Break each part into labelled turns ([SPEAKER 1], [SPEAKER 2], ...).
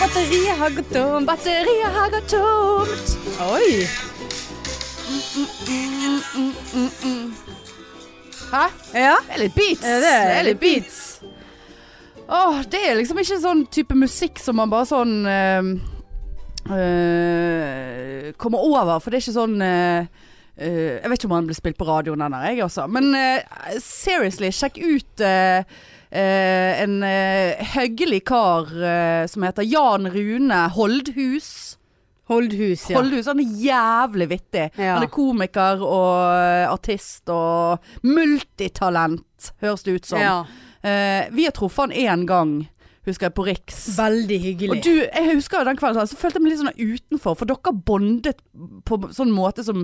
[SPEAKER 1] Batteriet har gått tomt, batteriet har gått tomt. Oi. Hæ?
[SPEAKER 2] Ja.
[SPEAKER 1] Det er litt beats.
[SPEAKER 2] Ja, det er litt
[SPEAKER 1] beats. Åh, det er liksom ikke sånn type musikk som man bare sånn eh, eh, Kommer over, for det er ikke sånn eh, eh, Jeg vet ikke om han ble spilt på radioen, den der, jeg også. Men eh, seriously, sjekk ut eh, eh, en eh, høggelig kar eh, som heter Jan Rune Holdhus.
[SPEAKER 2] Holdhus, ja.
[SPEAKER 1] Holdhus, han er jævlig vittig.
[SPEAKER 2] Ja.
[SPEAKER 1] Han er komiker og eh, artist og multitalent, høres det ut som.
[SPEAKER 2] ja.
[SPEAKER 1] Eh, vi har truffet han én gang, husker jeg, på Riks.
[SPEAKER 2] Veldig
[SPEAKER 1] Og
[SPEAKER 2] hyggelig.
[SPEAKER 1] du, jeg husker jo den kvelden, så følte jeg meg litt sånn utenfor, for dere bondet på sånn måte som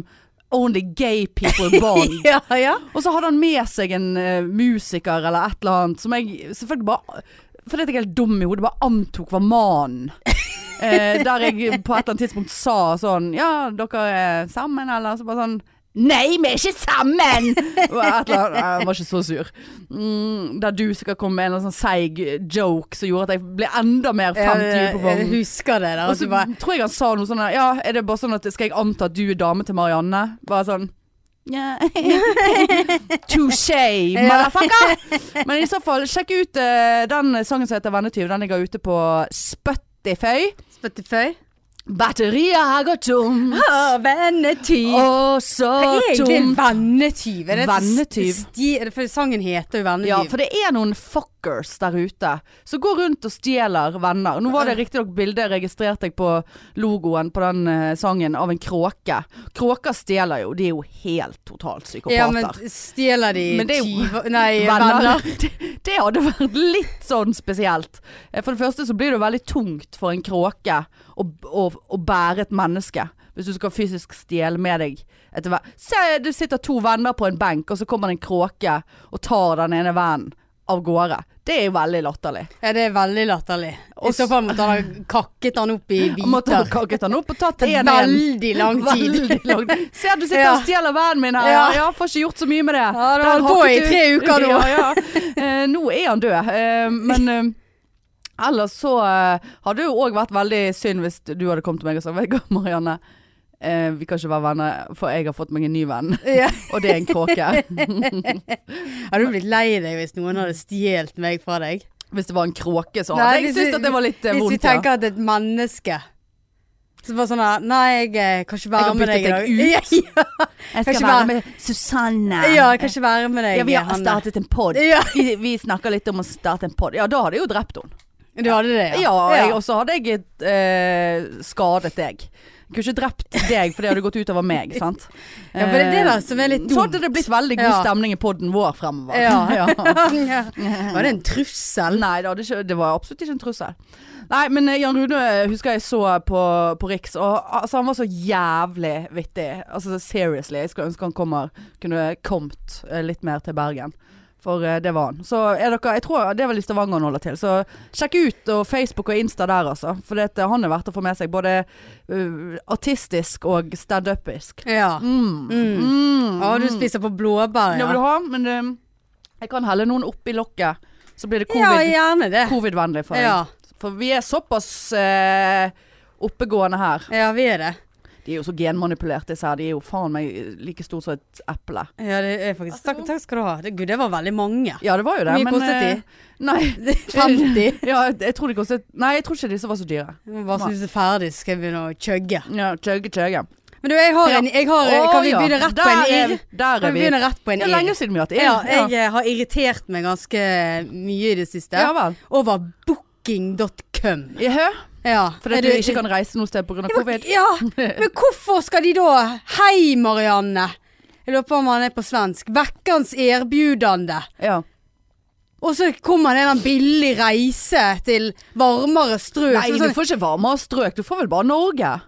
[SPEAKER 1] only gay people bond.
[SPEAKER 2] ja, ja.
[SPEAKER 1] Og så hadde han med seg en eh, musiker eller et eller annet som jeg selvfølgelig bare Fordi at jeg er helt dum i hodet, bare antok var mannen. Eh, der jeg på et eller annet tidspunkt sa sånn Ja, dere er sammen, eller? Så bare sånn Nei, vi er ikke sammen! Og et eller annet, jeg var ikke så sur. Mm, der du sikkert kom med en eller annen sånn seig joke som gjorde at jeg ble enda mer
[SPEAKER 2] Ja,
[SPEAKER 1] 50 på
[SPEAKER 2] Jeg
[SPEAKER 1] vognen.
[SPEAKER 2] Eh, husker det. Da,
[SPEAKER 1] Og
[SPEAKER 2] at
[SPEAKER 1] så
[SPEAKER 2] du bare,
[SPEAKER 1] tror jeg han sa noe sånn der, Ja, er det bare sånn at skal jeg anta at du er dame til Marianne? Bare sånn ja. Touché, motherfucker! Men i så fall, sjekk ut eh, den sangen som heter Vennetyv. Den jeg har ute på Spotify.
[SPEAKER 2] Spotify.
[SPEAKER 1] Batteriet har gått tomt,
[SPEAKER 2] Å, vennetyv.
[SPEAKER 1] å så
[SPEAKER 2] Hva er egentlig en
[SPEAKER 1] tomt.
[SPEAKER 2] vennetyv? Er det et
[SPEAKER 1] Vennetyv.
[SPEAKER 2] sti- er det- For sangen heter jo vennetyv.
[SPEAKER 1] Ja, for det er noen fuckers der ute som går rundt og stjeler venner. Nå var det riktignok bilde registrert jeg på logoen på den eh, sangen av en kråke. Kråker stjeler jo, de er jo helt totalt psykopater.
[SPEAKER 2] ja, men stjeler de
[SPEAKER 1] Men det er jo
[SPEAKER 2] tyver Nei, venner.
[SPEAKER 1] venner. Det, det hadde vært litt sånn spesielt. Eh, For det første så blir det jo veldig tungt for en kråke å, å, å bære et menneske. Hvis du skal fysisk stjele med deg etter hver Se, du sitter to venner på en benk, og så kommer det en kråke og tar den ene vennen av gårde. Det er jo veldig latterlig.
[SPEAKER 2] Ja, det er veldig latterlig. I
[SPEAKER 1] Og
[SPEAKER 2] så fall måtte han ha kakket han opp i
[SPEAKER 1] Han måtte ha
[SPEAKER 2] biter.
[SPEAKER 1] kakket den opp og tatt en en.
[SPEAKER 2] Veldig lang tid.
[SPEAKER 1] Veldig lang tid. Se, du sitter
[SPEAKER 2] Ja.
[SPEAKER 1] og stjeler vennen min her. Ja.
[SPEAKER 2] Ja.
[SPEAKER 1] får ikke gjort så mye med det.
[SPEAKER 2] Ja, det
[SPEAKER 1] Den
[SPEAKER 2] var på
[SPEAKER 1] hakket
[SPEAKER 2] i
[SPEAKER 1] du-
[SPEAKER 2] tre uker nå.
[SPEAKER 1] Ja, ja. Eh, nå er han død. Eh, men eh, ellers så eh, hadde det jo òg vært veldig synd hvis du hadde kommet til meg og sagt Vet du hva, Marianne. Eh, vi kan ikke være venner, for jeg har fått meg en ny venn.
[SPEAKER 2] Ja.
[SPEAKER 1] Og det er en kråke.
[SPEAKER 2] Hadde du blitt lei deg hvis noen hadde stjålet meg fra deg?
[SPEAKER 1] Hvis det var en kråke, så
[SPEAKER 2] Nei,
[SPEAKER 1] hadde jeg
[SPEAKER 2] hvis vi-
[SPEAKER 1] syntes at det var litt eh,
[SPEAKER 2] Hvis vi
[SPEAKER 1] vondt. ja.
[SPEAKER 2] tenker at et menneske så bare sånn her Nei, jeg eh, kan ikke
[SPEAKER 1] Jeg har
[SPEAKER 2] være med deg i dag.
[SPEAKER 1] byttet deg
[SPEAKER 2] Ja,
[SPEAKER 1] Jeg skal
[SPEAKER 2] kanskje
[SPEAKER 1] være
[SPEAKER 2] bare-
[SPEAKER 1] med Susanne.
[SPEAKER 2] ja. ja, jeg kan ikke være med deg.
[SPEAKER 1] Ja, vi har
[SPEAKER 2] Hanne.
[SPEAKER 1] startet en pod.
[SPEAKER 2] Ja.
[SPEAKER 1] Vi, vi snakker litt om å starte en pod. Ja, da hadde jeg jo drept henne.
[SPEAKER 2] Du hadde det,
[SPEAKER 1] Ja, jeg- og så hadde jeg eh, skadet deg. Jeg kunne ikke drept deg, for det hadde gått utover meg. sant? Eh,
[SPEAKER 2] Ja, for det er det da som er litt
[SPEAKER 1] Så hadde det blitt veldig god
[SPEAKER 2] Ja.
[SPEAKER 1] stemning i poden vår fremover.
[SPEAKER 2] Ja.
[SPEAKER 1] Ja.
[SPEAKER 2] Ja. Var det en trussel?
[SPEAKER 1] Nei, det, hadde ikke, det var absolutt ikke en trussel. Nei, men eh, Jan Rune eh, husker jeg så på, på Riks, og altså, han var så jævlig vittig. Altså seriously, jeg skulle ønske han kommer, kunne kommet eh, litt mer til Bergen. For eh, det var han. Så er dere, jeg tror det er vel i Stavanger han holder til. Så sjekk ut og Facebook og Insta der, altså. For det, at han er verdt å få med seg. Både eh, artistisk og standupisk.
[SPEAKER 2] Ja. Mm.
[SPEAKER 1] Mm.
[SPEAKER 2] Å, du spiser på blåbær,
[SPEAKER 1] Det vil du
[SPEAKER 2] ja.
[SPEAKER 1] ha, men eh, jeg kan helle noen oppi lokket. Så blir det
[SPEAKER 2] Ja,
[SPEAKER 1] covid.
[SPEAKER 2] gjerne det.
[SPEAKER 1] Covid-vennlig for deg.
[SPEAKER 2] Ja.
[SPEAKER 1] For vi er såpass eh, oppegående her.
[SPEAKER 2] ja, vi er det.
[SPEAKER 1] De er jo så genmanipulerte disse her. De er jo faen meg like store som et eple.
[SPEAKER 2] Ja, det er faktisk Takk, takk skal du ha. Det, Gud, det var veldig mange.
[SPEAKER 1] Ja, det var jo det.
[SPEAKER 2] Hvor mye
[SPEAKER 1] men,
[SPEAKER 2] kostet de?
[SPEAKER 1] eh, Nei,
[SPEAKER 2] 50.
[SPEAKER 1] ja, jeg- jeg tror de kostet Nei, jeg tror ikke disse var så dyre.
[SPEAKER 2] Jeg må Bare snuse ferdig, så skal jeg begynne å chugge.
[SPEAKER 1] Ja, chugge, chugge.
[SPEAKER 2] Men du, jeg har en jeg har,
[SPEAKER 1] Å,
[SPEAKER 2] Kan vi
[SPEAKER 1] ja.
[SPEAKER 2] begynne rett
[SPEAKER 1] der
[SPEAKER 2] på en irr?
[SPEAKER 1] Er, der er
[SPEAKER 2] Kan vi
[SPEAKER 1] vi.
[SPEAKER 2] begynne rett på en
[SPEAKER 1] Det er lenge
[SPEAKER 2] irr?
[SPEAKER 1] siden vi har hatt
[SPEAKER 2] Ja,
[SPEAKER 1] Ja.
[SPEAKER 2] jeg eh, har irritert meg ganske mye i det siste
[SPEAKER 1] ja vel.
[SPEAKER 2] over booking.com.
[SPEAKER 1] Jaha,
[SPEAKER 2] Ja.
[SPEAKER 1] fordi
[SPEAKER 2] Er
[SPEAKER 1] at du ikke kan reise noe sted pga. covid?
[SPEAKER 2] Ja, men hvorfor skal de da Hei, Marianne. Jeg lurer på om han er på svensk. Vekkans erbjudande.
[SPEAKER 1] Ja.
[SPEAKER 2] Og så kommer det en eller annen billig reise til varmere strøk.
[SPEAKER 1] Nei,
[SPEAKER 2] Så
[SPEAKER 1] du
[SPEAKER 2] sånn,
[SPEAKER 1] får ikke varmere strøk. Du får vel bare Norge.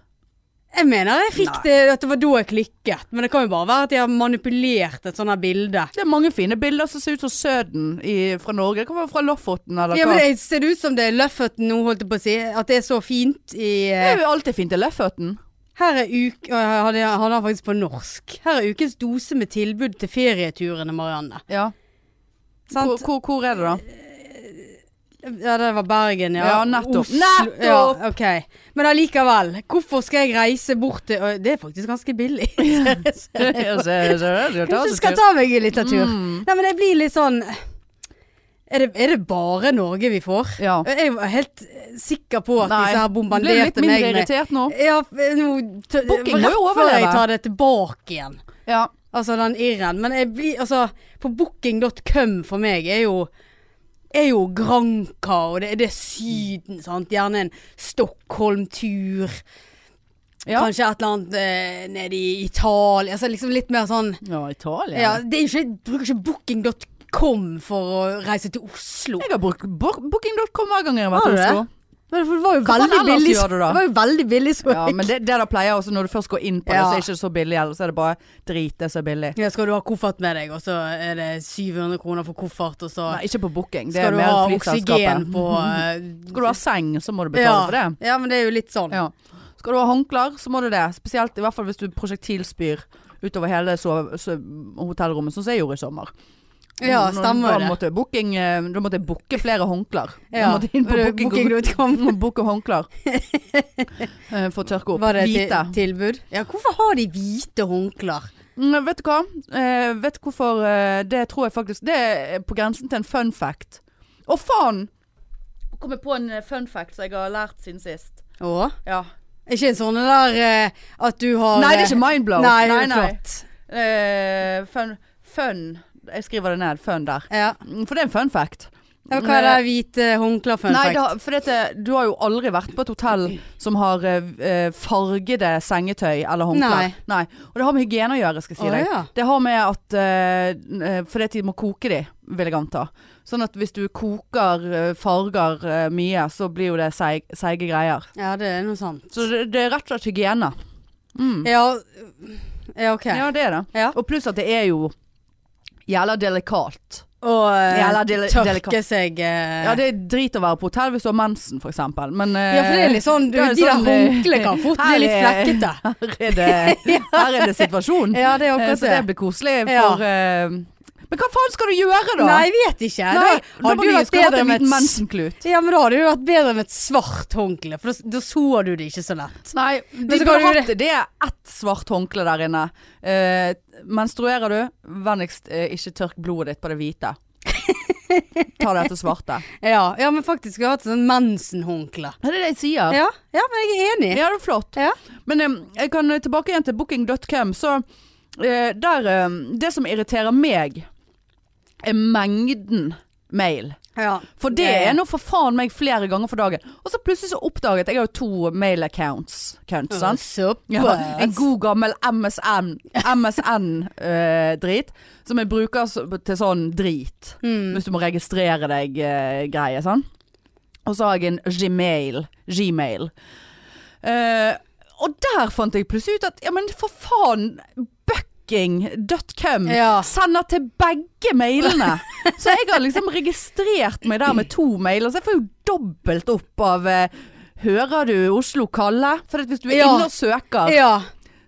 [SPEAKER 2] Jeg mener jeg fikk
[SPEAKER 1] Nei.
[SPEAKER 2] det at det var da jeg klikket. Men det kan jo bare være at de har manipulert et sånt her bilde.
[SPEAKER 1] Det er mange fine bilder som ser ut som Søden i, fra Norge. Det kan være fra Lofoten eller
[SPEAKER 2] Ja,
[SPEAKER 1] hva.
[SPEAKER 2] men det ser ut som det er Løfferten nå, holdt jeg på å si. At det er så fint i
[SPEAKER 1] Det
[SPEAKER 2] eh,
[SPEAKER 1] er jo alltid fint i Løfføtten.
[SPEAKER 2] Her er uk... Å, jeg hadde, jeg hadde han faktisk på norsk. Her er ukens dose med tilbud til ferieturene, Marianne.
[SPEAKER 1] Ja. Hvor,
[SPEAKER 2] Sant?
[SPEAKER 1] hvor, hvor er det da?
[SPEAKER 2] Ja, det var Bergen, ja.
[SPEAKER 1] Ja, nettopp.
[SPEAKER 2] Oslo-
[SPEAKER 1] Nettopp!
[SPEAKER 2] Ja, ok. Men allikevel. Hvorfor skal jeg reise bort til og Det er faktisk ganske billig. Kanskje jeg skal ta meg en liten tur.
[SPEAKER 1] Mm.
[SPEAKER 2] Nei, men jeg blir litt sånn Er det, er det bare Norge vi får?
[SPEAKER 1] Ja.
[SPEAKER 2] Jeg var helt sikker på at
[SPEAKER 1] Nei,
[SPEAKER 2] disse her
[SPEAKER 1] Ble litt
[SPEAKER 2] bombarderte meg
[SPEAKER 1] mindre
[SPEAKER 2] med
[SPEAKER 1] irritert nå.
[SPEAKER 2] ja, nå, t-
[SPEAKER 1] Booking må jo
[SPEAKER 2] rett før
[SPEAKER 1] overleve.
[SPEAKER 2] jeg tar det tilbake igjen.
[SPEAKER 1] Ja.
[SPEAKER 2] Altså den irren. Men jeg blir Altså, på booking.com for meg er jo er jo Granca, og det, det er Syden, sant. Gjerne en Stockholm-tur.
[SPEAKER 1] Ja.
[SPEAKER 2] Kanskje et eller annet eh, nede i Italia. Altså liksom litt mer sånn
[SPEAKER 1] ja, Italia.
[SPEAKER 2] Ja, det er jo ikke, jeg bruker ikke booking.com for å reise til Oslo.
[SPEAKER 1] Jeg har brukt bo- booking.com hver gang jeg har vært
[SPEAKER 2] Har
[SPEAKER 1] i
[SPEAKER 2] du det?
[SPEAKER 1] Oslo.
[SPEAKER 2] Men for det var jo
[SPEAKER 1] Hva faen
[SPEAKER 2] veldig
[SPEAKER 1] ellers
[SPEAKER 2] billig.
[SPEAKER 1] gjør du da?
[SPEAKER 2] Det var jo veldig billig, så
[SPEAKER 1] Ja, men det, det der pleier også, når du først går inn på det,
[SPEAKER 2] Ja.
[SPEAKER 1] så er det ikke så billig, ellers er det bare drit, det som er billig.
[SPEAKER 2] Ja, skal du ha koffert med deg, og så er det 700 kroner for koffert, og så
[SPEAKER 1] Nei, ikke på booking. Det
[SPEAKER 2] skal
[SPEAKER 1] er
[SPEAKER 2] du
[SPEAKER 1] mer
[SPEAKER 2] ha oksygen
[SPEAKER 1] flyselskapet.
[SPEAKER 2] på eh,
[SPEAKER 1] Skal du ha seng, så må du betale
[SPEAKER 2] ja.
[SPEAKER 1] for det.
[SPEAKER 2] ja, men det er jo litt sånn.
[SPEAKER 1] Ja. Skal du ha håndklær, så må du det. Spesielt i hvert fall hvis du prosjektilspyr utover hele sove, sove, hotellrommet, sånn som jeg gjorde i sommer.
[SPEAKER 2] Ja,
[SPEAKER 1] Nå-
[SPEAKER 2] stemmer
[SPEAKER 1] da
[SPEAKER 2] jo det.
[SPEAKER 1] måtte, jeg booking, eh, da måtte jeg booke flere håndklær.
[SPEAKER 2] Ja.
[SPEAKER 1] Du måtte inn på
[SPEAKER 2] Var det
[SPEAKER 1] booking,
[SPEAKER 2] booking.com?
[SPEAKER 1] Du må Booke håndklær. Eh, For å tørke opp.
[SPEAKER 2] Var det
[SPEAKER 1] Hvite.
[SPEAKER 2] til, tilbud? Ja, hvorfor har de hvite håndklær?
[SPEAKER 1] Mm, vet du hva? Eh, vet du hvorfor eh, Det tror jeg faktisk Det er på grensen til en fun fact. Å, faen! Nå kom jeg på en eh, fun fact som jeg har lært siden sist.
[SPEAKER 2] Å?
[SPEAKER 1] Ja.
[SPEAKER 2] Ikke en sånn der eh, at du har
[SPEAKER 1] Nei, det er
[SPEAKER 2] eh,
[SPEAKER 1] ikke mindblow.
[SPEAKER 2] Nei, det
[SPEAKER 1] nei,
[SPEAKER 2] er
[SPEAKER 1] nei.
[SPEAKER 2] flott.
[SPEAKER 1] Eh, fun, fun Jeg skriver det ned. Fun der.
[SPEAKER 2] Ja.
[SPEAKER 1] Mm, For det er en fun fact.
[SPEAKER 2] Ja, Hva er det hvite håndklær for en
[SPEAKER 1] eh, Nei,
[SPEAKER 2] fact?
[SPEAKER 1] da, for dette, du har jo aldri vært på et hotell som har eh, eh, fargede sengetøy eller håndklær.
[SPEAKER 2] Nei.
[SPEAKER 1] Nei. Og det har med hygiene å gjøre, skal jeg si
[SPEAKER 2] Å,
[SPEAKER 1] deg.
[SPEAKER 2] ja.
[SPEAKER 1] Det har med at eh, eh, Fordi at de må koke de, vil jeg anta. Sånn at hvis du koker eh, farger eh, mye, så blir jo det seig, seige greier.
[SPEAKER 2] Ja, det er noe sant.
[SPEAKER 1] Så det, det er rett og slett hygiene. Mm.
[SPEAKER 2] Ja, ja ok.
[SPEAKER 1] Ja, det er det.
[SPEAKER 2] Ja.
[SPEAKER 1] Og pluss at det er jo jævla delikat.
[SPEAKER 2] Og eh,
[SPEAKER 1] Ja, eller dele-
[SPEAKER 2] tørke
[SPEAKER 1] delikat.
[SPEAKER 2] seg eh,
[SPEAKER 1] Ja, det er drit å være på hotell hvis du har mensen, for eksempel. Men eh,
[SPEAKER 2] Ja, for det er litt sånn du,
[SPEAKER 1] det er
[SPEAKER 2] De der
[SPEAKER 1] sånn, eh,
[SPEAKER 2] håndklærne kan fort bli litt
[SPEAKER 1] her er-
[SPEAKER 2] flekkete.
[SPEAKER 1] her er det, her er det situasjon.
[SPEAKER 2] Ja, det er
[SPEAKER 1] Eh,
[SPEAKER 2] akkurat
[SPEAKER 1] Så det blir koselig
[SPEAKER 2] Ja.
[SPEAKER 1] for eh, Men hva faen skal du gjøre, da?
[SPEAKER 2] Nei, jeg vet ikke.
[SPEAKER 1] Nei,
[SPEAKER 2] da hadde du vært bedre med et s-
[SPEAKER 1] mensenklut.
[SPEAKER 2] ja, men da hadde du vært bedre med et svart håndkle, for da, da så du det ikke så lett.
[SPEAKER 1] Nei, de
[SPEAKER 2] så kan
[SPEAKER 1] burde
[SPEAKER 2] du-
[SPEAKER 1] hatt det. Det er ett svart håndkle der inne. Eh, menstruerer du, vennligst eh, ikke tørk blodet ditt på det hvite. Ta det etter svarte.
[SPEAKER 2] Ja, ja men faktisk jeg har hatt sånn mensenhåndkle.
[SPEAKER 1] Det er det jeg sier. Ja,
[SPEAKER 2] Ja, ja, men jeg er enig.
[SPEAKER 1] det er flott.
[SPEAKER 2] Ja.
[SPEAKER 1] Men eh, jeg kan eh, tilbake igjen til booking.com. Så eh, der eh, Det som irriterer meg, er mengden mail.
[SPEAKER 2] Ja.
[SPEAKER 1] For det er nå for faen meg flere ganger for dagen. Og så plutselig så oppdaget Jeg har jo to mail accounts. Cunts, sant? Ja, en
[SPEAKER 2] Såpass.
[SPEAKER 1] god gammel MSN MSN-drit eh, Som jeg bruker s- til sånn drit
[SPEAKER 2] Mm.
[SPEAKER 1] Hvis du må registrere deg uh, greie sånn. Og så har jeg en Gmail, Gmail. Eh, Og der fant jeg plutselig ut at Ja men for faen Bucking.com
[SPEAKER 2] Ja.
[SPEAKER 1] Sender til begge mailene Så jeg har liksom registrert meg der med to mailer Så jeg får jo dobbelt opp av eh, Hører du Oslo kalle? For at hvis du er
[SPEAKER 2] Ja.
[SPEAKER 1] inne og søker
[SPEAKER 2] Ja.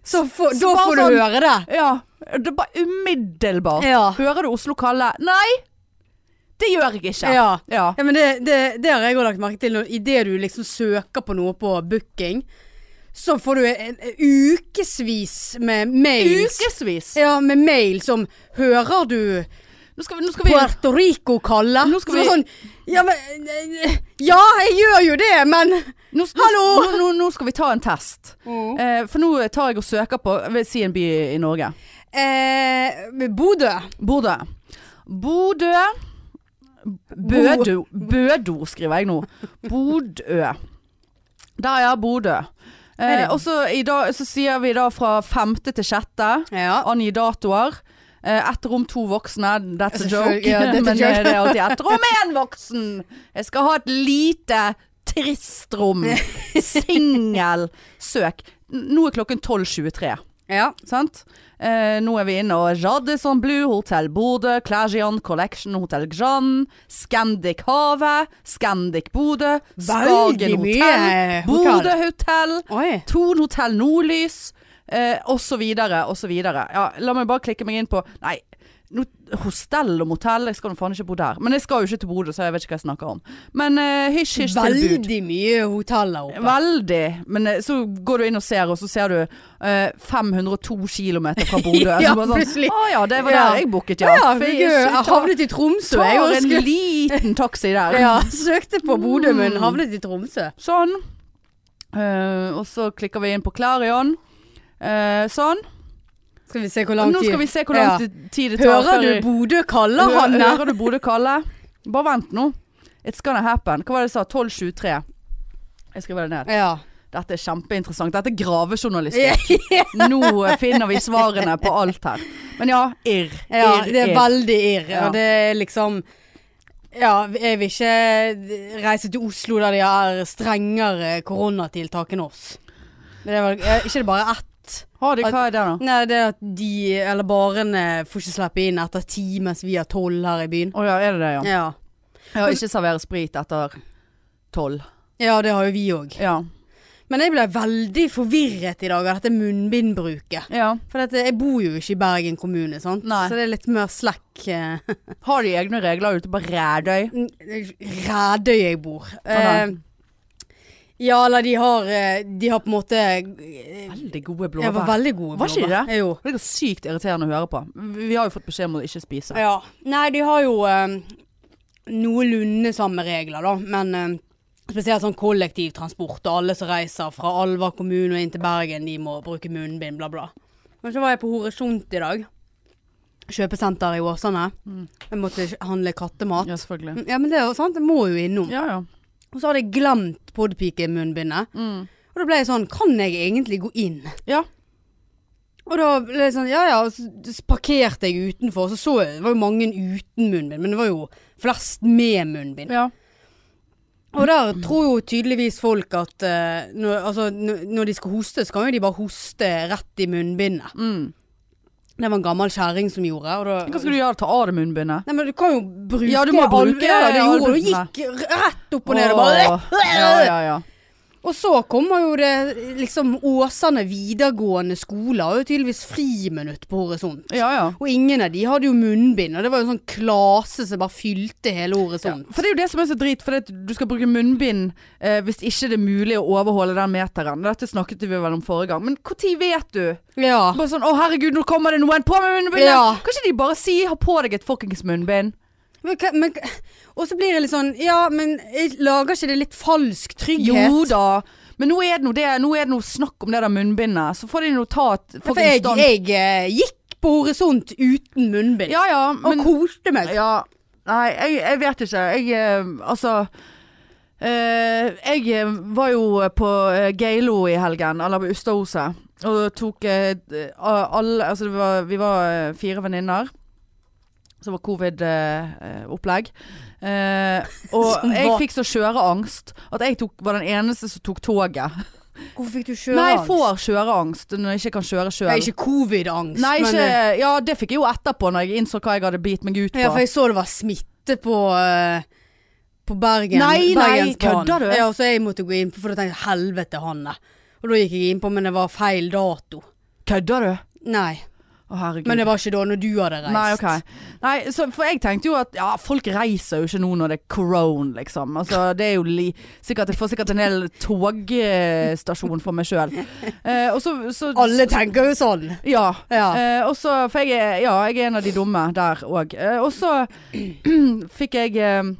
[SPEAKER 2] Så får- da
[SPEAKER 1] Bare
[SPEAKER 2] får du
[SPEAKER 1] sånn-
[SPEAKER 2] høre det.
[SPEAKER 1] ja, det er bare umiddelbart.
[SPEAKER 2] Ja.
[SPEAKER 1] Hører du Oslo kalle? Nei, det gjør jeg ikke.
[SPEAKER 2] Ja.
[SPEAKER 1] Ja.
[SPEAKER 2] Ja, men det, det, det har jeg òg lagt merke til. når- Idet du liksom søker på noe på booking, så får du en, en ukevis med mails.
[SPEAKER 1] Ukevis.
[SPEAKER 2] Ja, med mail som 'Hører du
[SPEAKER 1] Nå skal vi, nå skal vi
[SPEAKER 2] Puerto Rico kalle?'
[SPEAKER 1] Nå skal
[SPEAKER 2] Som er
[SPEAKER 1] vi-
[SPEAKER 2] sånn ja, men, ja, jeg gjør jo det, men
[SPEAKER 1] nå, nå,
[SPEAKER 2] Hallo! Oh.
[SPEAKER 1] Nå, nå, nå skal vi ta en test. Eh, for nå tar jeg og søker på jeg vil Si en by i Norge.
[SPEAKER 2] eh, Bodø.
[SPEAKER 1] Bodø. Bodø Bødo. Bødo skriver jeg nå. Bodø. Der, ja. Bodø. Eh,
[SPEAKER 2] det-
[SPEAKER 1] og så i dag- så sier vi da fra femte til sjette.
[SPEAKER 2] Ja.
[SPEAKER 1] angi datoer. Eh, Ett rom, to voksne. That's a
[SPEAKER 2] Selvfølgelig,
[SPEAKER 1] joke.
[SPEAKER 2] ja, that's a
[SPEAKER 1] Men eh,
[SPEAKER 2] joke.
[SPEAKER 1] det er alltid ett rom, én voksen! Jeg skal ha et lite, trist rom. Singel. Søk. N- Nå er klokken 12.23.
[SPEAKER 2] ja.
[SPEAKER 1] Sant? Eh, nå er vi inne og Radisson Blue, Hotell Bodø, Clagian Collection, Hotell Grand, Scandic Havet, Scandic Bodø, Skagen
[SPEAKER 2] Veldig mye, eh,
[SPEAKER 1] Hotell,
[SPEAKER 2] hotell.
[SPEAKER 1] Bodø Hotell,
[SPEAKER 2] Oi.
[SPEAKER 1] Thon Hotell Nordlys, eh, og så videre, og så videre. Ja, la meg bare klikke meg inn på Nei, no, hostell og motell, jeg skal nå faen ikke bo der. Men jeg skal jo ikke til Bodø, så jeg vet ikke hva jeg snakker om. Men eh, hysj-hysj-tilbud.
[SPEAKER 2] Veldig mye hoteller oppe.
[SPEAKER 1] Veldig. Men eh, så går du inn og ser, og så ser du eh, 502 km fra Bodø.
[SPEAKER 2] Ja,
[SPEAKER 1] Så bare sånn,
[SPEAKER 2] plutselig.
[SPEAKER 1] Å ja, det var
[SPEAKER 2] Ja.
[SPEAKER 1] der jeg booket,
[SPEAKER 2] Ja,
[SPEAKER 1] ja.
[SPEAKER 2] ja,
[SPEAKER 1] Fy,
[SPEAKER 2] jeg, jeg
[SPEAKER 1] så
[SPEAKER 2] havnet i Tromsø.
[SPEAKER 1] tar
[SPEAKER 2] Jeg
[SPEAKER 1] tar
[SPEAKER 2] også
[SPEAKER 1] en
[SPEAKER 2] skulle-
[SPEAKER 1] liten taxi der.
[SPEAKER 2] ja, søkte på Bodø, men havnet i Tromsø.
[SPEAKER 1] Sånn. Eh, og så klikker vi inn på Clarion. Eh, sånn.
[SPEAKER 2] Skal vi se hvor lang
[SPEAKER 1] Nå
[SPEAKER 2] tid
[SPEAKER 1] skal vi se hvor lang
[SPEAKER 2] Ja.
[SPEAKER 1] tid- tid det tar.
[SPEAKER 2] Hører
[SPEAKER 1] før
[SPEAKER 2] du
[SPEAKER 1] jeg-
[SPEAKER 2] Bodø kaller
[SPEAKER 1] Hø-
[SPEAKER 2] han
[SPEAKER 1] Hører du Bodø kalle? Bare vent nå. It's gonna happen. Hva var det jeg sa? 12.23. Jeg skriver det ned.
[SPEAKER 2] Ja.
[SPEAKER 1] Dette er kjempeinteressant. Dette er gravejournalistikk. Nå eh, finner vi svarene på alt her. Men ja, irr.
[SPEAKER 2] ja,
[SPEAKER 1] irr,
[SPEAKER 2] det er
[SPEAKER 1] irr.
[SPEAKER 2] veldig irr.
[SPEAKER 1] Ja.
[SPEAKER 2] Og det er liksom Ja, jeg vil ikke reise til Oslo der de har strengere koronatiltak enn oss. Men det er vel eh, ikke det bare ett?
[SPEAKER 1] Har de hva er det da?
[SPEAKER 2] Nei, det er at de, eller barene, får ikke slippe inn etter ti mens vi har tolv her i byen.
[SPEAKER 1] Å ja, er det det, ja.
[SPEAKER 2] Ja.
[SPEAKER 1] Ja, ikke servere sprit etter tolv.
[SPEAKER 2] ja, det har jo vi òg.
[SPEAKER 1] Ja.
[SPEAKER 2] Men jeg ble veldig forvirret i dag av dette munnbindbruket.
[SPEAKER 1] ja.
[SPEAKER 2] For dette, jeg bor jo ikke i Bergen kommune, sant?
[SPEAKER 1] Nei.
[SPEAKER 2] så det er litt mer slekk. eh,
[SPEAKER 1] Har de egne regler ute på Rædøy?
[SPEAKER 2] Rædøy jeg bor.
[SPEAKER 1] Ah, nei.
[SPEAKER 2] Eh, ja, eller de har eh, De har på en måte eh,
[SPEAKER 1] Veldig gode
[SPEAKER 2] Jeg var
[SPEAKER 1] blåbær.
[SPEAKER 2] veldig gode
[SPEAKER 1] Var ikke de
[SPEAKER 2] blåbær. Jo.
[SPEAKER 1] Det er sykt irriterende å høre på. Vi har jo fått beskjed om å ikke spise.
[SPEAKER 2] Ja. Nei, de har jo eh, noenlunde samme regler, da. Men eh, spesielt sånn kollektivtransport og alle som reiser fra Alva kommune og inn til Bergen, de må bruke munnbind, bla, bla. Men så var jeg på Horisont i dag. Kjøpesenter i Åsane. Jeg måtte handle kattemat.
[SPEAKER 1] Mm.
[SPEAKER 2] Mm,
[SPEAKER 1] Ja, selvfølgelig.
[SPEAKER 2] Ja, men det er jo sant. Jeg må jo innom.
[SPEAKER 1] Ja, ja.
[SPEAKER 2] Og så hadde jeg glemt podpikemunnbindet.
[SPEAKER 1] Mm.
[SPEAKER 2] Og da ble jeg sånn, kan jeg egentlig gå inn?
[SPEAKER 1] Ja.
[SPEAKER 2] Og da ble jeg sånn, ja ja, og så s- parkerte jeg utenfor, og så så jeg, det var jo mange uten munnbind, men det var jo flest med munnbind.
[SPEAKER 1] ja.
[SPEAKER 2] Og der tror jo tydeligvis folk at eh, når, altså, når når de skal hoste, så kan jo de bare hoste rett i munnbindet.
[SPEAKER 1] Mm.
[SPEAKER 2] Det var en gammel kjæring som gjorde, og da...
[SPEAKER 1] Hva skal du gjøre? Ta av deg munnbindet?
[SPEAKER 2] Nei, men du kan jo bruke...
[SPEAKER 1] Ja, du må bruke
[SPEAKER 2] albuene. Ja, det gjorde du,
[SPEAKER 1] albuene.
[SPEAKER 2] gikk rett opp og ned og bare...
[SPEAKER 1] Åh. Ja, ja, ja.
[SPEAKER 2] Og så kommer jo det liksom Åsane videregående skole har jo tydeligvis friminutt på horisont.
[SPEAKER 1] ja, ja.
[SPEAKER 2] Og ingen av de hadde jo munnbind, og det var jo en sånn klase som bare fylte hele horisont.
[SPEAKER 1] Sånn. For det er jo det som er så drit, for det, at du skal bruke munnbind eh, hvis ikke det er mulig å overholde den meteren. Dette snakket vi vel om forrige gang, men når vet du?
[SPEAKER 2] Ja.
[SPEAKER 1] Bare sånn 'Å, herregud, nå kommer det noen på med munnbindet!'
[SPEAKER 2] Ja.
[SPEAKER 1] Kan ikke de bare si 'ha på deg et fuckings munnbind'?
[SPEAKER 2] Men, hva- men, og så blir det litt sånn, ja, men jeg lager ikke det litt falsk trygghet?
[SPEAKER 1] Jo da. Men nå er det noe, det, nå er det noe snakk om det der munnbindet. Så får de nå ta et
[SPEAKER 2] Ja, For
[SPEAKER 1] fuckings
[SPEAKER 2] jeg,
[SPEAKER 1] stand-
[SPEAKER 2] jeg eh, gikk på horisont uten munnbind,
[SPEAKER 1] Ja ja, men
[SPEAKER 2] og koste meg.
[SPEAKER 1] Ja. Nei, jeg, jeg vet ikke. Jeg eh, Altså eh, Jeg eh, var jo på eh, Geilo i helgen, eller på Ustaoset. Og tok eh, d- alle Altså det var, vi var eh, fire venninner. Som var covid-opplegg. Eh, og
[SPEAKER 2] Som
[SPEAKER 1] jeg
[SPEAKER 2] var-
[SPEAKER 1] fikk så skjøreangst at jeg tok, var den eneste som tok toget.
[SPEAKER 2] Hvorfor fikk du
[SPEAKER 1] Nei, jeg
[SPEAKER 2] kjøreangst?
[SPEAKER 1] får skjøreangst når jeg ikke kan kjøre sjøl.
[SPEAKER 2] Ja, ikke covid-angst,
[SPEAKER 1] Nei,
[SPEAKER 2] men
[SPEAKER 1] ikke,
[SPEAKER 2] eh,
[SPEAKER 1] ja, det fikk jeg jo etterpå, når jeg innså hva jeg hadde bitt meg ut på.
[SPEAKER 2] Ja, for jeg så det var smitte på eh, På Bergen.
[SPEAKER 1] Nei, nei,
[SPEAKER 2] Bergensbanen.
[SPEAKER 1] kødder du?
[SPEAKER 2] Ja, og så jeg måtte gå inn på, for da tenkte jeg helvete, Hanne. Og da gikk jeg inn på, men det var feil dato.
[SPEAKER 1] Kødder du?
[SPEAKER 2] Nei.
[SPEAKER 1] Å herregud.
[SPEAKER 2] Men det var ikke da når du hadde reist.
[SPEAKER 1] Nei, ok. Nei, så, for jeg tenkte jo at ja, folk reiser jo ikke nå når det er corona, liksom. Altså, det er jo li sikkert, Jeg får sikkert en hel togstasjon for meg sjøl. Eh, og så, så
[SPEAKER 2] Alle tenker jo sånn.
[SPEAKER 1] Ja.
[SPEAKER 2] Ja.
[SPEAKER 1] Eh, og så, for jeg er, ja, jeg er en av de dumme der òg. Eh, og så fikk jeg eh,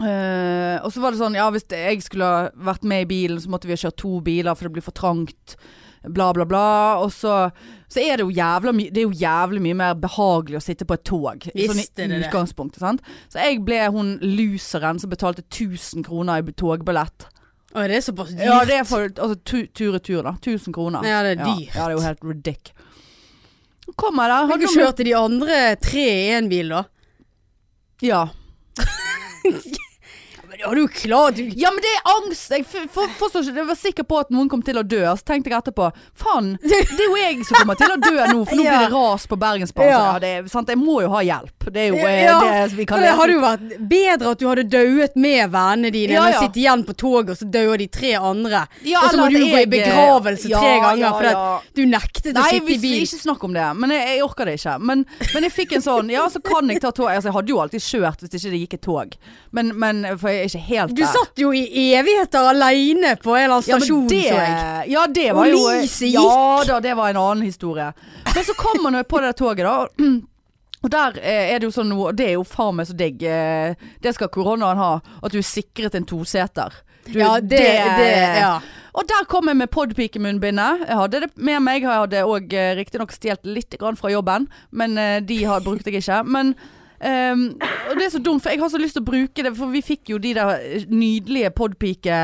[SPEAKER 1] eh, og så var det sånn, ja hvis jeg skulle ha vært med i bilen, så måtte vi ha kjørt to biler, for det blir for trangt. Bla, bla, bla. Og så, så er det jo jævla mye Det er jo jævlig mye mer behagelig å sitte på et tog.
[SPEAKER 2] Visst
[SPEAKER 1] sånn
[SPEAKER 2] er det
[SPEAKER 1] i
[SPEAKER 2] det.
[SPEAKER 1] utgangspunktet. Sant? Så jeg ble hun loseren som betalte 1000 kroner i togbillett.
[SPEAKER 2] Å, er det såpass dyrt?
[SPEAKER 1] Ja, det er for altså, tu- tur-retur, da. 1000 kroner.
[SPEAKER 2] Ja, det er dyrt.
[SPEAKER 1] Ja, ja det er jo helt ridic. Kommer der.
[SPEAKER 2] Har du
[SPEAKER 1] noen-
[SPEAKER 2] kjørt til de andre tre i en bil, da?
[SPEAKER 1] Ja.
[SPEAKER 2] Men Ja, du er klar, du
[SPEAKER 1] Ja, men det er angst! Jeg, f- for, forstår ikke, jeg var sikker på at noen kom til å dø. Så tenkte jeg etterpå Faen, det er jo jeg som kommer til å dø nå, for nå
[SPEAKER 2] Ja.
[SPEAKER 1] blir det ras på Bergensbanen. Ja.
[SPEAKER 2] Ja.
[SPEAKER 1] Ja, det er sant, jeg må jo ha hjelp. Det er jo eh,
[SPEAKER 2] Ja,
[SPEAKER 1] det vi kan
[SPEAKER 2] for det hadde
[SPEAKER 1] lese.
[SPEAKER 2] jo vært bedre at du hadde dauet med vennene dine
[SPEAKER 1] Ja,
[SPEAKER 2] enn
[SPEAKER 1] ja.
[SPEAKER 2] å sitte igjen på toget, og så dauer de tre andre.
[SPEAKER 1] Ja,
[SPEAKER 2] og så må
[SPEAKER 1] eller
[SPEAKER 2] du
[SPEAKER 1] at
[SPEAKER 2] gå i
[SPEAKER 1] jeg- eh,
[SPEAKER 2] begravelse
[SPEAKER 1] Ja,
[SPEAKER 2] tre ganger
[SPEAKER 1] ja,
[SPEAKER 2] fordi
[SPEAKER 1] ja.
[SPEAKER 2] at du nektet å
[SPEAKER 1] Nei,
[SPEAKER 2] sitte
[SPEAKER 1] vi,
[SPEAKER 2] i
[SPEAKER 1] vi
[SPEAKER 2] bil.
[SPEAKER 1] ikke snakk om det. Men jeg, jeg orker det ikke. Men, men jeg fikk en sånn Ja, så kan jeg ta tog. Altså, jeg hadde jo alltid kjørt hvis ikke det gikk et tog. Men, men for jeg er ikke helt
[SPEAKER 2] Du
[SPEAKER 1] der.
[SPEAKER 2] satt jo i evigheter aleine på en eller annen
[SPEAKER 1] Ja, men
[SPEAKER 2] stasjon,
[SPEAKER 1] det,
[SPEAKER 2] så jeg.
[SPEAKER 1] ja, det var
[SPEAKER 2] Og
[SPEAKER 1] jo
[SPEAKER 2] lyset
[SPEAKER 1] Ja da, det var en annen historie. Men så kommer man jo på det toget, da. og- Og der eh, er det jo sånn nå, og det er jo faen meg så digg, eh, det skal koronaen ha, at du er sikret en toseter. Du,
[SPEAKER 2] Ja, det, det, ja.
[SPEAKER 1] Og der kom jeg med podpikemunnbindet. Jeg hadde det med meg, jeg hadde òg riktignok stjålet litt grann fra jobben, men eh, de har, brukte jeg ikke. Men ehm, og det er så dumt, for jeg har så lyst til å bruke det, for vi fikk jo de der eh, nydelige podpike...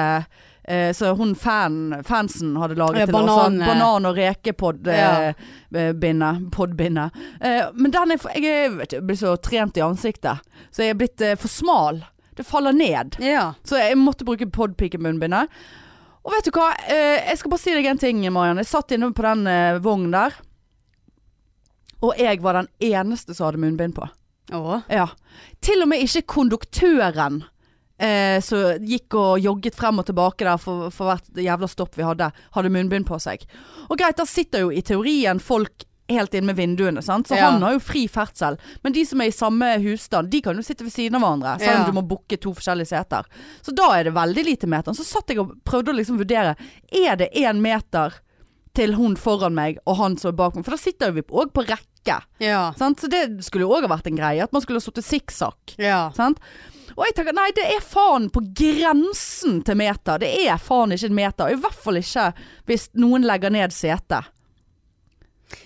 [SPEAKER 1] Eh, så hun fan, fansen hadde laget
[SPEAKER 2] Ja,
[SPEAKER 1] til oss. sånn
[SPEAKER 2] banan-
[SPEAKER 1] Banan- og rekepod-bindet. Eh, bindet, podbindet. eh, men den er for, jeg, er- vet, du, jeg blir så trent i ansiktet, så jeg er blitt eh, for smal. Det faller ned.
[SPEAKER 2] ja.
[SPEAKER 1] Så jeg måtte bruke podpikemunnbindet. Og vet du hva, eh, jeg skal bare si deg en ting, Mariann. Jeg satt inne på den eh, vognen der. Og jeg var den eneste som hadde munnbind på.
[SPEAKER 2] Å.
[SPEAKER 1] Ja. Til og med ikke konduktøren eh, som gikk og jogget frem og tilbake der for, for hvert jævla stopp vi hadde, hadde munnbind på seg. Og greit, der sitter jo i teorien folk helt inn med vinduene, sant? så
[SPEAKER 2] Ja.
[SPEAKER 1] han har jo fri ferdsel. Men de som er i samme husstand, de kan jo sitte ved siden av hverandre, selv
[SPEAKER 2] Ja.
[SPEAKER 1] om du må booke to forskjellige seter. Så da er det veldig lite meter. Så satt jeg og prøvde å liksom vurdere, er det én meter til hun foran meg og han som er bak meg? For da sitter jo vi òg på rekke.
[SPEAKER 2] Ja.
[SPEAKER 1] Sant? Så det skulle jo òg ha vært en greie, at man skulle ha sittet sikksakk.
[SPEAKER 2] Ja.
[SPEAKER 1] Sant? Og jeg tenker, nei, det er faen på grensen til meter. Det er faen ikke en meter. I hvert fall ikke hvis noen legger ned setet.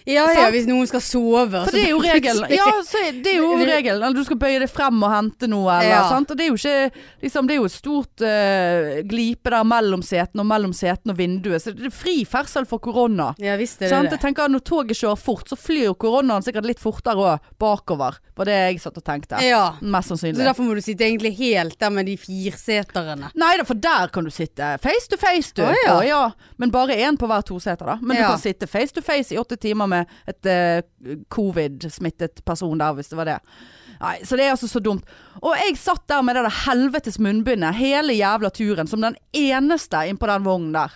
[SPEAKER 2] Ja, ja,
[SPEAKER 1] Sant?
[SPEAKER 2] hvis noen skal sove.
[SPEAKER 1] For det er jo regelen. Ja, så er- det er jo regelen. Eller du skal bøye deg frem og hente noe, eller
[SPEAKER 2] Ja.
[SPEAKER 1] sant. Og det er jo ikke liksom, Det er jo et stort eh, glipe der mellom setene og mellom setene og vinduet. Så det er fri ferdsel for korona.
[SPEAKER 2] Ja visst er
[SPEAKER 1] Sant?
[SPEAKER 2] det
[SPEAKER 1] Jeg
[SPEAKER 2] det.
[SPEAKER 1] tenker at Når toget kjører fort, så flyr jo koronaen sikkert litt fortere òg bakover. Var det jeg satt og tenkte.
[SPEAKER 2] Ja.
[SPEAKER 1] Mest
[SPEAKER 2] Så
[SPEAKER 1] sannsynlig.
[SPEAKER 2] derfor må du sitte egentlig helt der med de firseterne.
[SPEAKER 1] Nei da, for der kan du sitte face to face, du.
[SPEAKER 2] Å, ja.
[SPEAKER 1] Å, Men bare én på hver toseter, da. Men du
[SPEAKER 2] Ja.
[SPEAKER 1] kan sitte face to face i åtte timer med et eh, covid-smittet person der, hvis det var det. Nei, så det er altså så dumt. Og jeg satt der med det der helvetes munnbindet hele jævla turen, som den eneste innpå den vognen der.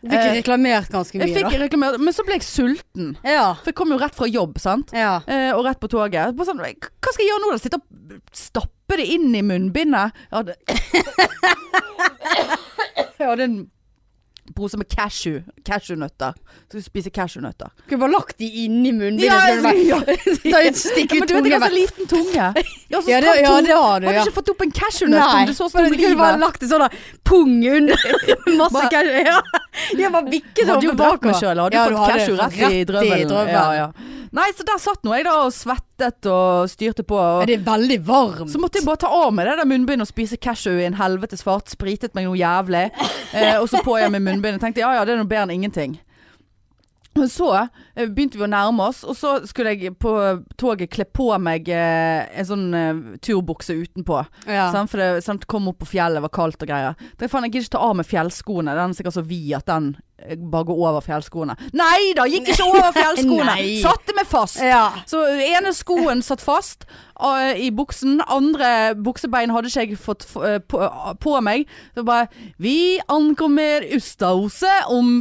[SPEAKER 2] Du fikk
[SPEAKER 1] Eh,
[SPEAKER 2] reklamert ganske
[SPEAKER 1] Jeg
[SPEAKER 2] mye,
[SPEAKER 1] fikk reklamert, men så ble jeg sulten.
[SPEAKER 2] da. Ja.
[SPEAKER 1] For jeg kom jo rett fra jobb, sant.
[SPEAKER 2] Ja.
[SPEAKER 1] Eh, og rett på toget. Bare sånn, hva skal jeg gjøre nå? da? Sitte og stappe det inn i munnbindet? Jeg hadde, jeg hadde en pose med cashew. Cashewnøtter. Skulle spise cashewnøtter.
[SPEAKER 2] Skulle bare lagt de inni munnbindet.
[SPEAKER 1] Ja,
[SPEAKER 2] så hadde det
[SPEAKER 1] ja.
[SPEAKER 2] vært- Ta ut, stikk
[SPEAKER 1] Ja,
[SPEAKER 2] ut
[SPEAKER 1] men du vet
[SPEAKER 2] tunga.
[SPEAKER 1] ikke altså, hva så
[SPEAKER 2] bare-
[SPEAKER 1] liten tunge. Ja, så
[SPEAKER 2] Ja, det-
[SPEAKER 1] stram
[SPEAKER 2] ja,
[SPEAKER 1] tunge.
[SPEAKER 2] det har du,
[SPEAKER 1] Hadde
[SPEAKER 2] ja.
[SPEAKER 1] ikke fått opp en cashewnøtt
[SPEAKER 2] Nei,
[SPEAKER 1] om du så
[SPEAKER 2] men
[SPEAKER 1] stor
[SPEAKER 2] du kunne bare
[SPEAKER 1] livet.
[SPEAKER 2] lagt en sånn der pung under masse
[SPEAKER 1] Bare-
[SPEAKER 2] cashew. Ja, jeg bare vikket
[SPEAKER 1] Hadde
[SPEAKER 2] over
[SPEAKER 1] jo drept meg
[SPEAKER 2] bakover.
[SPEAKER 1] selv, hadde
[SPEAKER 2] Ja,
[SPEAKER 1] fått
[SPEAKER 2] du hadde
[SPEAKER 1] cashew
[SPEAKER 2] fått
[SPEAKER 1] rett i drømmen. Ja, ja. Nei, så der satt nå jeg da og svettet og styrte på. Og
[SPEAKER 2] Ja, Det er veldig varmt.
[SPEAKER 1] Så måtte jeg bare ta av meg det der munnbindet og spise cashew i en helvetes fart. Spritet meg noe jævlig. Eh, og så på jeg med munnbindet. Tenkte ja ja, det er noe bedre enn ingenting. Og så eh, begynte vi å nærme oss, og så skulle jeg på toget kle på meg eh, en sånn eh, turbukse utenpå.
[SPEAKER 2] Ja.
[SPEAKER 1] Sant? For det sant, kom opp på fjellet, var kaldt og greier. Tenkte, faen, jeg gidder ikke ta av meg fjellskoene. Den er sikkert så vid at den eh, bare går over fjellskoene. Nei da, gikk ikke over fjellskoene!
[SPEAKER 2] Nei.
[SPEAKER 1] Satte meg fast!
[SPEAKER 2] Ja.
[SPEAKER 1] Så ene skoen satt fast eh, i buksen, andre buksebein hadde ikke jeg fått f- eh, på, på meg. Så bare Vi ankommer Ustaoset om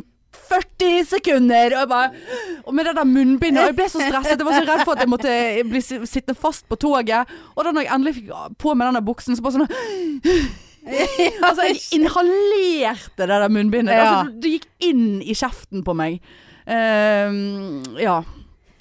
[SPEAKER 1] 40 sekunder! Og, jeg bare, og med det der munnbindet. Og jeg ble så stresset. Jeg var så redd for at jeg måtte bli si- sittende fast på toget. Og da når jeg endelig fikk på meg denne buksen, så bare sånn Altså, jeg inhalerte det der munnbindet.
[SPEAKER 2] Ja.
[SPEAKER 1] Altså, det gikk inn i kjeften på meg. Eh, ja.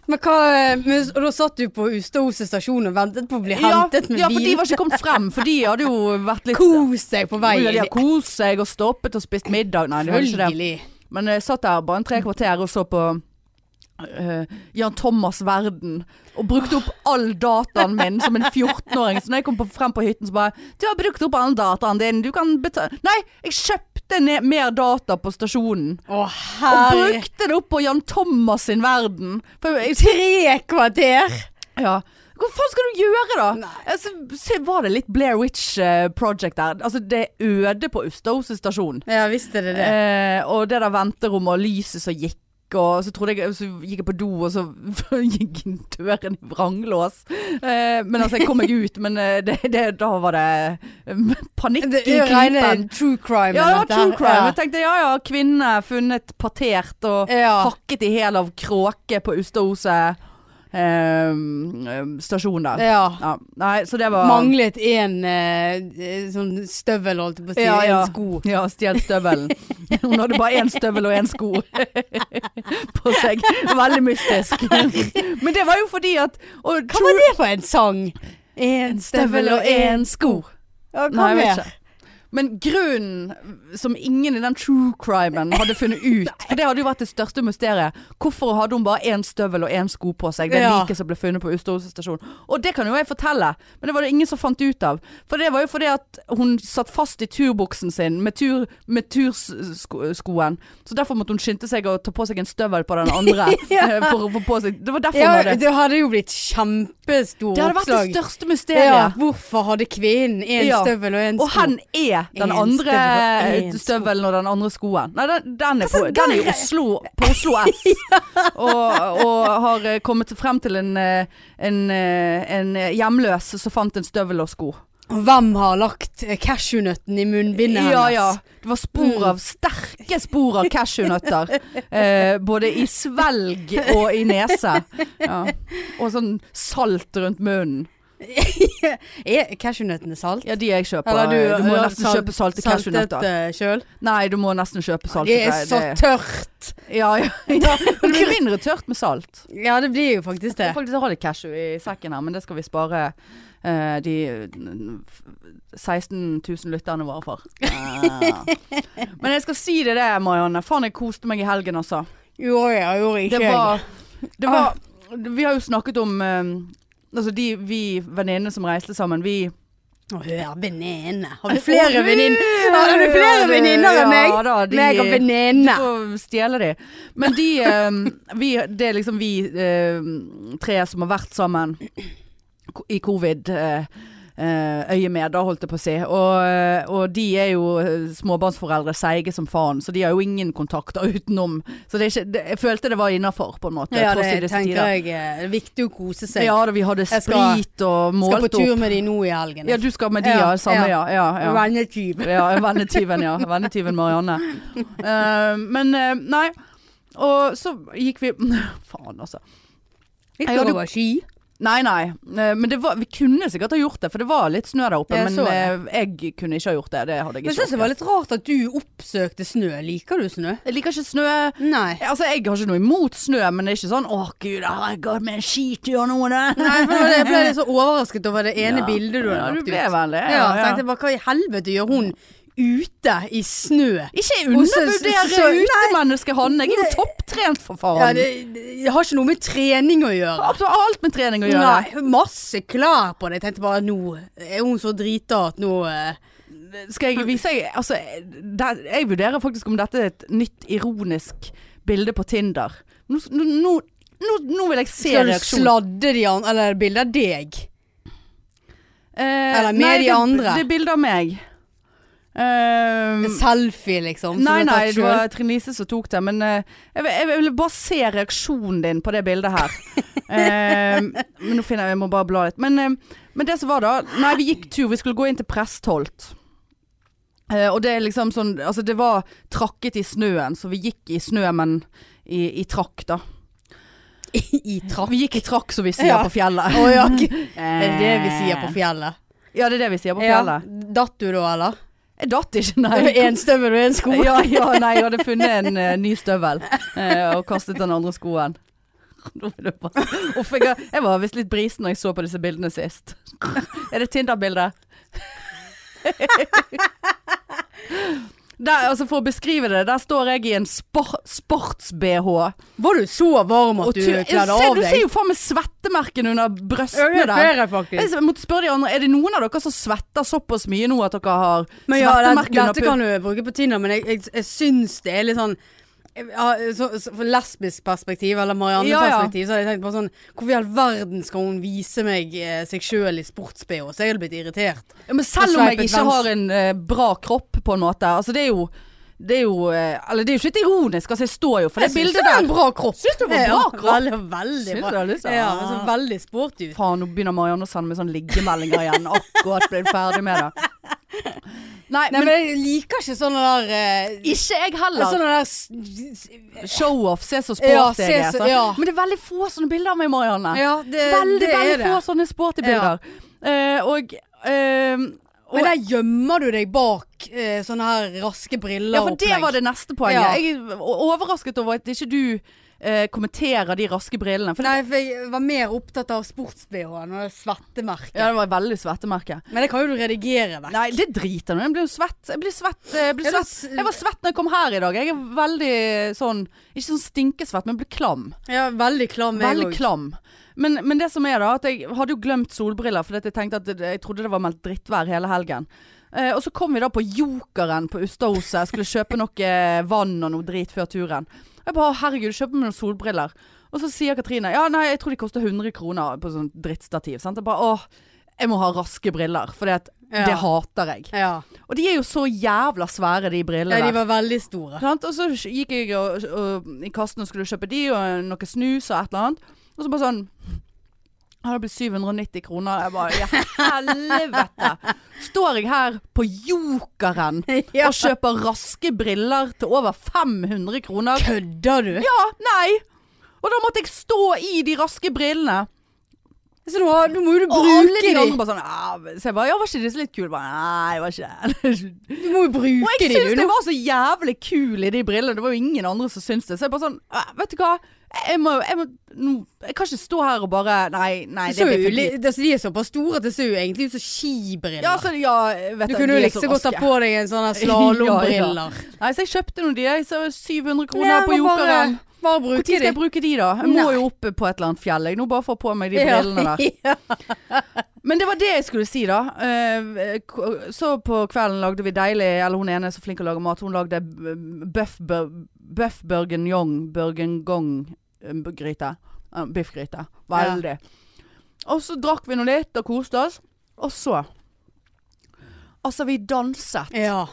[SPEAKER 2] Men hva eh, men, Og da satt du på Ustaoset stasjon og ventet på å bli hentet med
[SPEAKER 1] ja, Ja, for de
[SPEAKER 2] bil.
[SPEAKER 1] var ikke kommet frem, for de hadde jo vært litt
[SPEAKER 2] Kos deg på
[SPEAKER 1] Ja, de
[SPEAKER 2] veien.
[SPEAKER 1] hadde kost seg og stoppet og spist middag. Nei, de hadde ikke det.
[SPEAKER 2] Selvfølgelig.
[SPEAKER 1] Men jeg satt der bare en tre kvarter og så på eh, Jan Thomas Verden. Og brukte opp all dataen min som en 14-åring. Så når jeg kom på, frem på hytten, så bare 'Du har brukt opp all dataen din. Du kan betale Nei, jeg kjøpte ned mer data på stasjonen.
[SPEAKER 2] Å,
[SPEAKER 1] Og
[SPEAKER 2] herre
[SPEAKER 1] brukte det opp på Jan Thomas sin verden. For jeg,
[SPEAKER 2] Tre kvarter!
[SPEAKER 1] Ja, Hva faen skal du gjøre da?
[SPEAKER 2] Nei.
[SPEAKER 1] Altså, se, var det litt Blair Witch eh, Project der? Altså, det er øde på Ustadhuset stasjon.
[SPEAKER 2] Ja, visst er det det.
[SPEAKER 1] Eh, og det der venterommet og lyset som gikk. Og så, trodde jeg, så gikk jeg på do, og så gikk døren i vranglås. Eh, men altså, jeg kom meg ut, men eh, det, det, da var det eh, panikk
[SPEAKER 2] Det
[SPEAKER 1] i
[SPEAKER 2] er jo
[SPEAKER 1] knipen.
[SPEAKER 2] rene true crime.
[SPEAKER 1] Ja, det var
[SPEAKER 2] dette her.
[SPEAKER 1] true crime. Jeg tenkte ja ja, kvinne funnet partert og
[SPEAKER 2] Ja. ja.
[SPEAKER 1] hakket i hæl av kråke på Ustaoset eh, stasjon der.
[SPEAKER 2] ja.
[SPEAKER 1] Ja. Nei, så det var
[SPEAKER 2] Manglet en eh, sånn støvel, holdt jeg på å si.
[SPEAKER 1] Ja, ja.
[SPEAKER 2] En sko.
[SPEAKER 1] Ja, stjålet støvelen. Hun hadde bare én støvel og én sko på seg. Veldig mystisk. Men det var jo fordi at og
[SPEAKER 2] Hva var det for en sang? En en
[SPEAKER 1] sko.
[SPEAKER 2] Ja, hva
[SPEAKER 1] Nei, jeg vet
[SPEAKER 2] mer?
[SPEAKER 1] ikke. Men grunnen som ingen i den true crimen hadde funnet ut For det hadde jo vært det største mysteriet. Hvorfor hadde hun bare én støvel og én sko på seg? Det
[SPEAKER 2] Ja.
[SPEAKER 1] liket som ble funnet på Ustadhuset stasjon. Og det kan jo jeg fortelle, men det var det ingen som fant ut av. For det var jo fordi at hun satt fast i turbuksen sin med, tur, med turskoen. Så derfor måtte hun skynde seg å ta på seg en støvel på den andre.
[SPEAKER 2] Ja.
[SPEAKER 1] eh, For å få på seg Det var derfor
[SPEAKER 2] Ja,
[SPEAKER 1] hun hadde
[SPEAKER 2] det hadde jo blitt kjempestor
[SPEAKER 1] Det hadde vært det
[SPEAKER 2] oppslag.
[SPEAKER 1] største mysteriet.
[SPEAKER 2] hvorfor hadde kvinnen en
[SPEAKER 1] Ja.
[SPEAKER 2] støvel og en sko?
[SPEAKER 1] Og hen er den
[SPEAKER 2] En
[SPEAKER 1] andre eh,
[SPEAKER 2] støvel og en sko.
[SPEAKER 1] støvelen og den andre skoen. Nei, den, den, er, på,
[SPEAKER 2] slags
[SPEAKER 1] den er i
[SPEAKER 2] greier?
[SPEAKER 1] Oslo, på Oslo S. og, og har eh, kommet frem til en, eh, en, eh, en hjemløs som fant en støvel og sko.
[SPEAKER 2] Og hvem har lagt eh, cashewnøtten i munnbindet hennes?
[SPEAKER 1] Ja, ja. Det var spor
[SPEAKER 2] Mm.
[SPEAKER 1] av sterke spor av cashewnøtter. Eh, både i svelg og i nese. Ja. Og sånn salt rundt munnen.
[SPEAKER 2] Er cashewnøttene salt?
[SPEAKER 1] Ja, de jeg kjøper. du, må
[SPEAKER 2] ja,
[SPEAKER 1] nesten
[SPEAKER 2] salt-
[SPEAKER 1] kjøpe salte
[SPEAKER 2] Saltet
[SPEAKER 1] cashewnøtter.
[SPEAKER 2] eh, sjøl?
[SPEAKER 1] Nei, du må nesten kjøpe salte.
[SPEAKER 2] Det er så tørt!
[SPEAKER 1] Ja, ja. ja. Men det blir mindre tørt med salt.
[SPEAKER 2] Ja, det blir jo faktisk det.
[SPEAKER 1] Jeg faktisk har litt cashew i sekken her, men det skal vi spare eh, de mm, f- 16 000 lytterne våre for. Eh, Men jeg skal si det det, Marianne. Faen, jeg koste meg i helgen, altså.
[SPEAKER 2] Jo, ja, gjorde ikke
[SPEAKER 1] Det
[SPEAKER 2] jeg. Ah.
[SPEAKER 1] var, det var Vi har jo snakket om eh, Altså de vi venninnene som reiste sammen, vi
[SPEAKER 2] Å, hør, venninne. Har du flere venninner? Har du
[SPEAKER 1] Ja,
[SPEAKER 2] flere
[SPEAKER 1] det-
[SPEAKER 2] venninner enn meg?
[SPEAKER 1] Ja da, de
[SPEAKER 2] Meg og venninne.
[SPEAKER 1] Så stjeler de. Men de eh, vi, Det er liksom vi eh, tre som har vært sammen ko- i covid. eh, eh, øye med, da holdt jeg på å si. Og, og de er jo eh, småbarnsforeldre, seige som faen, så de har jo ingen kontakter utenom. Så det er ikke, det, jeg følte det var innafor, på en måte.
[SPEAKER 2] Ja,
[SPEAKER 1] tross i
[SPEAKER 2] det
[SPEAKER 1] disse
[SPEAKER 2] tenker
[SPEAKER 1] tider.
[SPEAKER 2] jeg. eh, Det er viktig å kose seg.
[SPEAKER 1] Ja da, vi hadde
[SPEAKER 2] Jeg skal-
[SPEAKER 1] sprit og
[SPEAKER 2] Skal på
[SPEAKER 1] målt
[SPEAKER 2] tur
[SPEAKER 1] opp.
[SPEAKER 2] med de nå i helgen.
[SPEAKER 1] Ja, du skal med de,
[SPEAKER 2] Ja,
[SPEAKER 1] ja. Samme, ja. ja, ja.
[SPEAKER 2] Vennetyv.
[SPEAKER 1] Ja, vennetyven, ja. Vennetyven Marianne. Eh, men eh, nei. Og så gikk vi Faen, altså.
[SPEAKER 2] Gikk
[SPEAKER 1] Ja,
[SPEAKER 2] du
[SPEAKER 1] du-
[SPEAKER 2] over ski?
[SPEAKER 1] Nei, nei. eh, men det var, vi kunne sikkert ha gjort det, for det var litt snø der oppe.
[SPEAKER 2] Jeg
[SPEAKER 1] men
[SPEAKER 2] så
[SPEAKER 1] eh, jeg kunne ikke ha gjort det. Det hadde
[SPEAKER 2] Jeg
[SPEAKER 1] jeg ikke
[SPEAKER 2] syns det var litt rart at du oppsøkte snø. Liker du snø?
[SPEAKER 1] Jeg liker ikke snø.
[SPEAKER 2] Nei.
[SPEAKER 1] Altså, Jeg har ikke noe imot snø, men det er ikke sånn 'Å, gud, herregud, med en skitur nå', det.
[SPEAKER 2] Nei, for Jeg ble litt så overrasket over det ene
[SPEAKER 1] Ja.
[SPEAKER 2] bildet du
[SPEAKER 1] Ja,
[SPEAKER 2] hadde
[SPEAKER 1] du
[SPEAKER 2] lagt ut.
[SPEAKER 1] ble vel det.
[SPEAKER 2] Ja,
[SPEAKER 1] Ja,
[SPEAKER 2] jeg
[SPEAKER 1] ja.
[SPEAKER 2] tenkte bare hva i helvete gjør hun ute i snø?
[SPEAKER 1] Ikke
[SPEAKER 2] Og så- så-
[SPEAKER 1] undervurdere
[SPEAKER 2] så-
[SPEAKER 1] utemennesket Hanne. Jeg er jo topptrent, for faen.
[SPEAKER 2] Ja, det, det har ikke noe med trening å gjøre.
[SPEAKER 1] Absolutt alt med trening å gjøre.
[SPEAKER 2] Nei, masse klær på det. Jeg tenkte bare nå er hun så drita at nå eh,
[SPEAKER 1] Skal jeg vise deg altså, det, Jeg vurderer faktisk om dette er et nytt ironisk bilde på Tinder. Nå, nå, nå, nå, nå vil jeg se
[SPEAKER 2] Skal du
[SPEAKER 1] reaksjonen.
[SPEAKER 2] sladde de andre Eller bilde av deg?
[SPEAKER 1] Eh,
[SPEAKER 2] eller med
[SPEAKER 1] nei,
[SPEAKER 2] de
[SPEAKER 1] det-
[SPEAKER 2] andre?
[SPEAKER 1] Det er bilde av meg. Eh,
[SPEAKER 2] En selfie, liksom? som
[SPEAKER 1] nei,
[SPEAKER 2] du har
[SPEAKER 1] nei,
[SPEAKER 2] tatt
[SPEAKER 1] det
[SPEAKER 2] selv?
[SPEAKER 1] var Trine Lise som tok det. Men eh, jeg, vil- jeg ville bare se reaksjonen din på det bildet her. Eh, men nå finner jeg Jeg må bare bla litt. Men, eh, men det som var da Nei, vi gikk tur. Vi skulle gå inn til Prestholt. Eh, og det er liksom sånn Altså, det var trakket i snøen, så vi gikk i snø, men i, i trakk, da.
[SPEAKER 2] I trakk?
[SPEAKER 1] Vi gikk i trakk, som vi sier
[SPEAKER 2] Ja.
[SPEAKER 1] på fjellet.
[SPEAKER 2] Å ja. Er det det vi sier på fjellet?
[SPEAKER 1] Ja, det er det vi sier på
[SPEAKER 2] Eh. Ja.
[SPEAKER 1] fjellet.
[SPEAKER 2] Datt du da, eller?
[SPEAKER 1] Jeg datt ikke, nei.
[SPEAKER 2] En støvel og en sko.
[SPEAKER 1] Ja, ja, nei, jeg hadde funnet en eh, ny støvel eh, og kastet den andre skoen. Nå er det bare- Uff, jeg, har- jeg var visst litt brisen når jeg så på disse bildene sist. Er det Tinder-bildet? Der, altså for å beskrive det, der står jeg i en spor sports-BH.
[SPEAKER 2] Var du så varm at
[SPEAKER 1] Og
[SPEAKER 2] du
[SPEAKER 1] tu-
[SPEAKER 2] kledde
[SPEAKER 1] Se,
[SPEAKER 2] av
[SPEAKER 1] du
[SPEAKER 2] deg?
[SPEAKER 1] ser jo faen meg svettemerkene under brøstene
[SPEAKER 2] det
[SPEAKER 1] der.
[SPEAKER 2] ser jeg
[SPEAKER 1] Jeg
[SPEAKER 2] faktisk.
[SPEAKER 1] måtte spørre de andre, Er det noen av dere som svetter såpass mye nå at dere har
[SPEAKER 2] Men ja, det,
[SPEAKER 1] svettemerker under
[SPEAKER 2] dette kan du bruke på Tinder, men jeg, jeg, jeg syns det er litt sånn ja, så, så, for lesbisk perspektiv, eller Marianne
[SPEAKER 1] Ja, ja.
[SPEAKER 2] perspektiv, så hadde jeg tenkt på sånn Hvorfor i all verden skal hun vise meg eh, seg sjøl i sports-BH? Så jeg hadde blitt irritert.
[SPEAKER 1] Ja, men selv
[SPEAKER 2] Og
[SPEAKER 1] om jeg
[SPEAKER 2] sveipet
[SPEAKER 1] ikke
[SPEAKER 2] venstre.
[SPEAKER 1] har en eh, bra kropp, på en måte. Altså, det er jo det er jo eh, Eller det er jo ikke litt ironisk, altså, jeg står jo for det bildet
[SPEAKER 2] det er en
[SPEAKER 1] der.
[SPEAKER 2] bra kropp. Syns
[SPEAKER 1] det var bra kropp?
[SPEAKER 2] Veldig, veldig
[SPEAKER 1] Syns
[SPEAKER 2] bra.
[SPEAKER 1] du det, liksom?
[SPEAKER 2] Ja, altså, veldig sporty ut.
[SPEAKER 1] Faen, nå begynner Marianne å sende meg sånne liggemeldinger igjen. Akkurat ble jeg ferdig med det. Nei,
[SPEAKER 2] Nei,
[SPEAKER 1] men,
[SPEAKER 2] men jeg liker ikke sånne der eh,
[SPEAKER 1] ikke jeg heller.
[SPEAKER 2] Sånne der s-
[SPEAKER 1] Show-off, se så sporty
[SPEAKER 2] Ja, se
[SPEAKER 1] jeg er.
[SPEAKER 2] så-
[SPEAKER 1] sant?
[SPEAKER 2] ja.
[SPEAKER 1] Men det er veldig få sånne bilder av meg, Marianne.
[SPEAKER 2] Ja, det,
[SPEAKER 1] veldig,
[SPEAKER 2] det
[SPEAKER 1] veldig
[SPEAKER 2] er det.
[SPEAKER 1] få sånne sporty bilder. Eh, og eh,
[SPEAKER 2] Men der gjemmer du deg bak eh, sånne her raske briller
[SPEAKER 1] Ja, for det var det neste poenget.
[SPEAKER 2] Ja.
[SPEAKER 1] Jeg er o- overrasket over at ikke du eh, kommenterer de raske brillene. For det,
[SPEAKER 2] Nei, for jeg var mer opptatt av sports-BH-en og det svettemerket.
[SPEAKER 1] ja, det var et veldig svettemerke.
[SPEAKER 2] Men det kan jo du redigere vekk.
[SPEAKER 1] Nei, det driter jeg nå i. Jeg blir jo svett. Jeg blir svett. eh, Jeg, blir
[SPEAKER 2] Ja, da
[SPEAKER 1] svett.
[SPEAKER 2] s-
[SPEAKER 1] jeg var svett når jeg kom her i dag. Jeg er veldig sånn Ikke sånn stinkesvett, men blir klam.
[SPEAKER 2] Ja, veldig klam jeg
[SPEAKER 1] Veldig
[SPEAKER 2] òg.
[SPEAKER 1] klam. Men, men det som er da, at jeg hadde jo glemt solbriller, fordi at jeg tenkte at det- jeg trodde det var meldt drittvær hele helgen. Eh, og så kom vi da på Jokeren på Ustahuset. Jeg skulle kjøpe noe eh, vann og noe drit før turen. Og jeg bare herregud, kjøp meg noen solbriller. Og så sier Katrine ja, nei, jeg tror de koster 100 kroner på sånn drittstativ. Sant? Jeg bare åh, jeg må ha raske briller, for
[SPEAKER 2] Ja.
[SPEAKER 1] det hater jeg.
[SPEAKER 2] Ja.
[SPEAKER 1] Og de er jo så jævla svære, de brillene.
[SPEAKER 2] ja, de
[SPEAKER 1] der.
[SPEAKER 2] var veldig store.
[SPEAKER 1] Sant? Og så gikk jeg og, og, i kassen og skulle kjøpe de og noe snus og et eller annet. Og så bare sånn «Ja, Det blir 790 kroner. Jeg bare Ja, helvete! Står jeg her på Jokeren
[SPEAKER 2] Ja.
[SPEAKER 1] og kjøper raske briller til over 500 kroner?
[SPEAKER 2] Kødder du?
[SPEAKER 1] Ja, nei! Og da måtte jeg stå i de raske brillene.
[SPEAKER 2] Så nå, har- nå må jo du
[SPEAKER 1] Og alle
[SPEAKER 2] bruke
[SPEAKER 1] de
[SPEAKER 2] de.
[SPEAKER 1] andre bare sånn «Ja», Så jeg bare Ja, var ikke disse litt kule? Jeg Bare, nei, var ikke det.
[SPEAKER 2] Du må jo
[SPEAKER 1] Og
[SPEAKER 2] bruke
[SPEAKER 1] jeg
[SPEAKER 2] de,
[SPEAKER 1] syns
[SPEAKER 2] du.
[SPEAKER 1] det
[SPEAKER 2] nå.
[SPEAKER 1] var så jævlig kul i de brillene. Det var jo ingen andre som syntes det. Så jeg bare sånn «Æ, Vet du hva. Jeg må, jeg må nå, Jeg kan ikke stå her og bare Nei, nei,
[SPEAKER 2] Det
[SPEAKER 1] det
[SPEAKER 2] så
[SPEAKER 1] blir
[SPEAKER 2] jo,
[SPEAKER 1] for
[SPEAKER 2] li-
[SPEAKER 1] dyrt.
[SPEAKER 2] det- så de er såpass store at det ser jo egentlig ut som skibriller.
[SPEAKER 1] Ja, så, ja, jeg vet
[SPEAKER 2] du
[SPEAKER 1] at
[SPEAKER 2] kunne
[SPEAKER 1] de
[SPEAKER 2] jo
[SPEAKER 1] er
[SPEAKER 2] like så godt ta
[SPEAKER 1] raske.
[SPEAKER 2] på deg en sånn
[SPEAKER 1] Ja,
[SPEAKER 2] slalåmbriller.
[SPEAKER 1] Nei, så jeg kjøpte noen av de. Jeg så 700 kroner på
[SPEAKER 2] bare,
[SPEAKER 1] Jokeren.
[SPEAKER 2] bare
[SPEAKER 1] Når
[SPEAKER 2] bruke
[SPEAKER 1] skal
[SPEAKER 2] de.
[SPEAKER 1] jeg bruke de, da? Jeg må
[SPEAKER 2] Nei.
[SPEAKER 1] jo opp på et eller annet fjell. Jeg nå bare får på meg de brillene der.
[SPEAKER 2] Ja.
[SPEAKER 1] Men det var det jeg skulle si da Eh, k- Så på kvelden lagde vi deilig Eller hun ene er så flink å lage mat Hun lagde b- bøff, bur- bøff burgenjong Burgengong eh, b- gryte Eh, Biffgryte Veldig Og så drakk vi noe litt og koste oss Og så Altså vi danset
[SPEAKER 2] ja.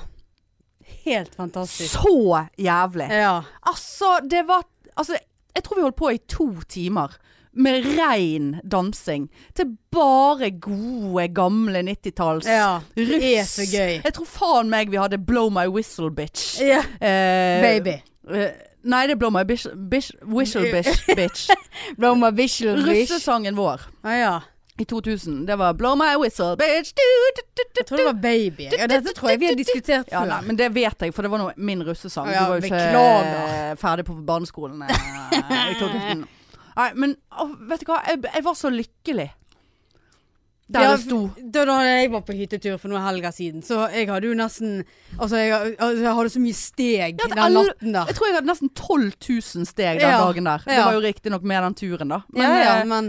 [SPEAKER 2] Helt fantastisk.
[SPEAKER 1] Så jævlig
[SPEAKER 2] Ja.
[SPEAKER 1] Altså det var Altså jeg tror vi holdt på i to timer Med rein dansing Til bare gode gamle 90-talls
[SPEAKER 2] ja.
[SPEAKER 1] Russ.
[SPEAKER 2] Det er så gøy.
[SPEAKER 1] Jeg tror faen meg vi hadde Blow My Whistle Bitch.
[SPEAKER 2] Ja.
[SPEAKER 1] Eh,
[SPEAKER 2] Baby. Eh,
[SPEAKER 1] eh, nei, det er Blow My bish, bish, Whistle Bitch. bitch.
[SPEAKER 2] Blow my whistle, bitch.
[SPEAKER 1] Russesangen vår
[SPEAKER 2] Ah, ja.
[SPEAKER 1] i 2000. Det var Blow My Whistle Bitch. Du, du, du, du,
[SPEAKER 2] Jeg tror det var baby. Ja, dette tror jeg vi har diskutert
[SPEAKER 1] Ja,
[SPEAKER 2] før.
[SPEAKER 1] nei, men det vet jeg, for det var nå min russesang.
[SPEAKER 2] Ja,
[SPEAKER 1] du var jo ikke
[SPEAKER 2] beklager.
[SPEAKER 1] eh, ferdig på barneskolen eh, i 2000. Nei, men å, vet du hva? Jeg, jeg var så lykkelig der
[SPEAKER 2] Ja,
[SPEAKER 1] det sto.
[SPEAKER 2] Da, da jeg var på hyttetur for noen helger siden, så jeg hadde jo nesten Altså, jeg, altså, jeg hadde så mye steg
[SPEAKER 1] Ja, at
[SPEAKER 2] den
[SPEAKER 1] alle-
[SPEAKER 2] natten der.
[SPEAKER 1] Jeg tror jeg hadde nesten 12 000 steg den
[SPEAKER 2] Ja,
[SPEAKER 1] dagen der. Det
[SPEAKER 2] ja.
[SPEAKER 1] var jo riktignok med den turen, da. Men
[SPEAKER 2] Men, ja,
[SPEAKER 1] eh,
[SPEAKER 2] men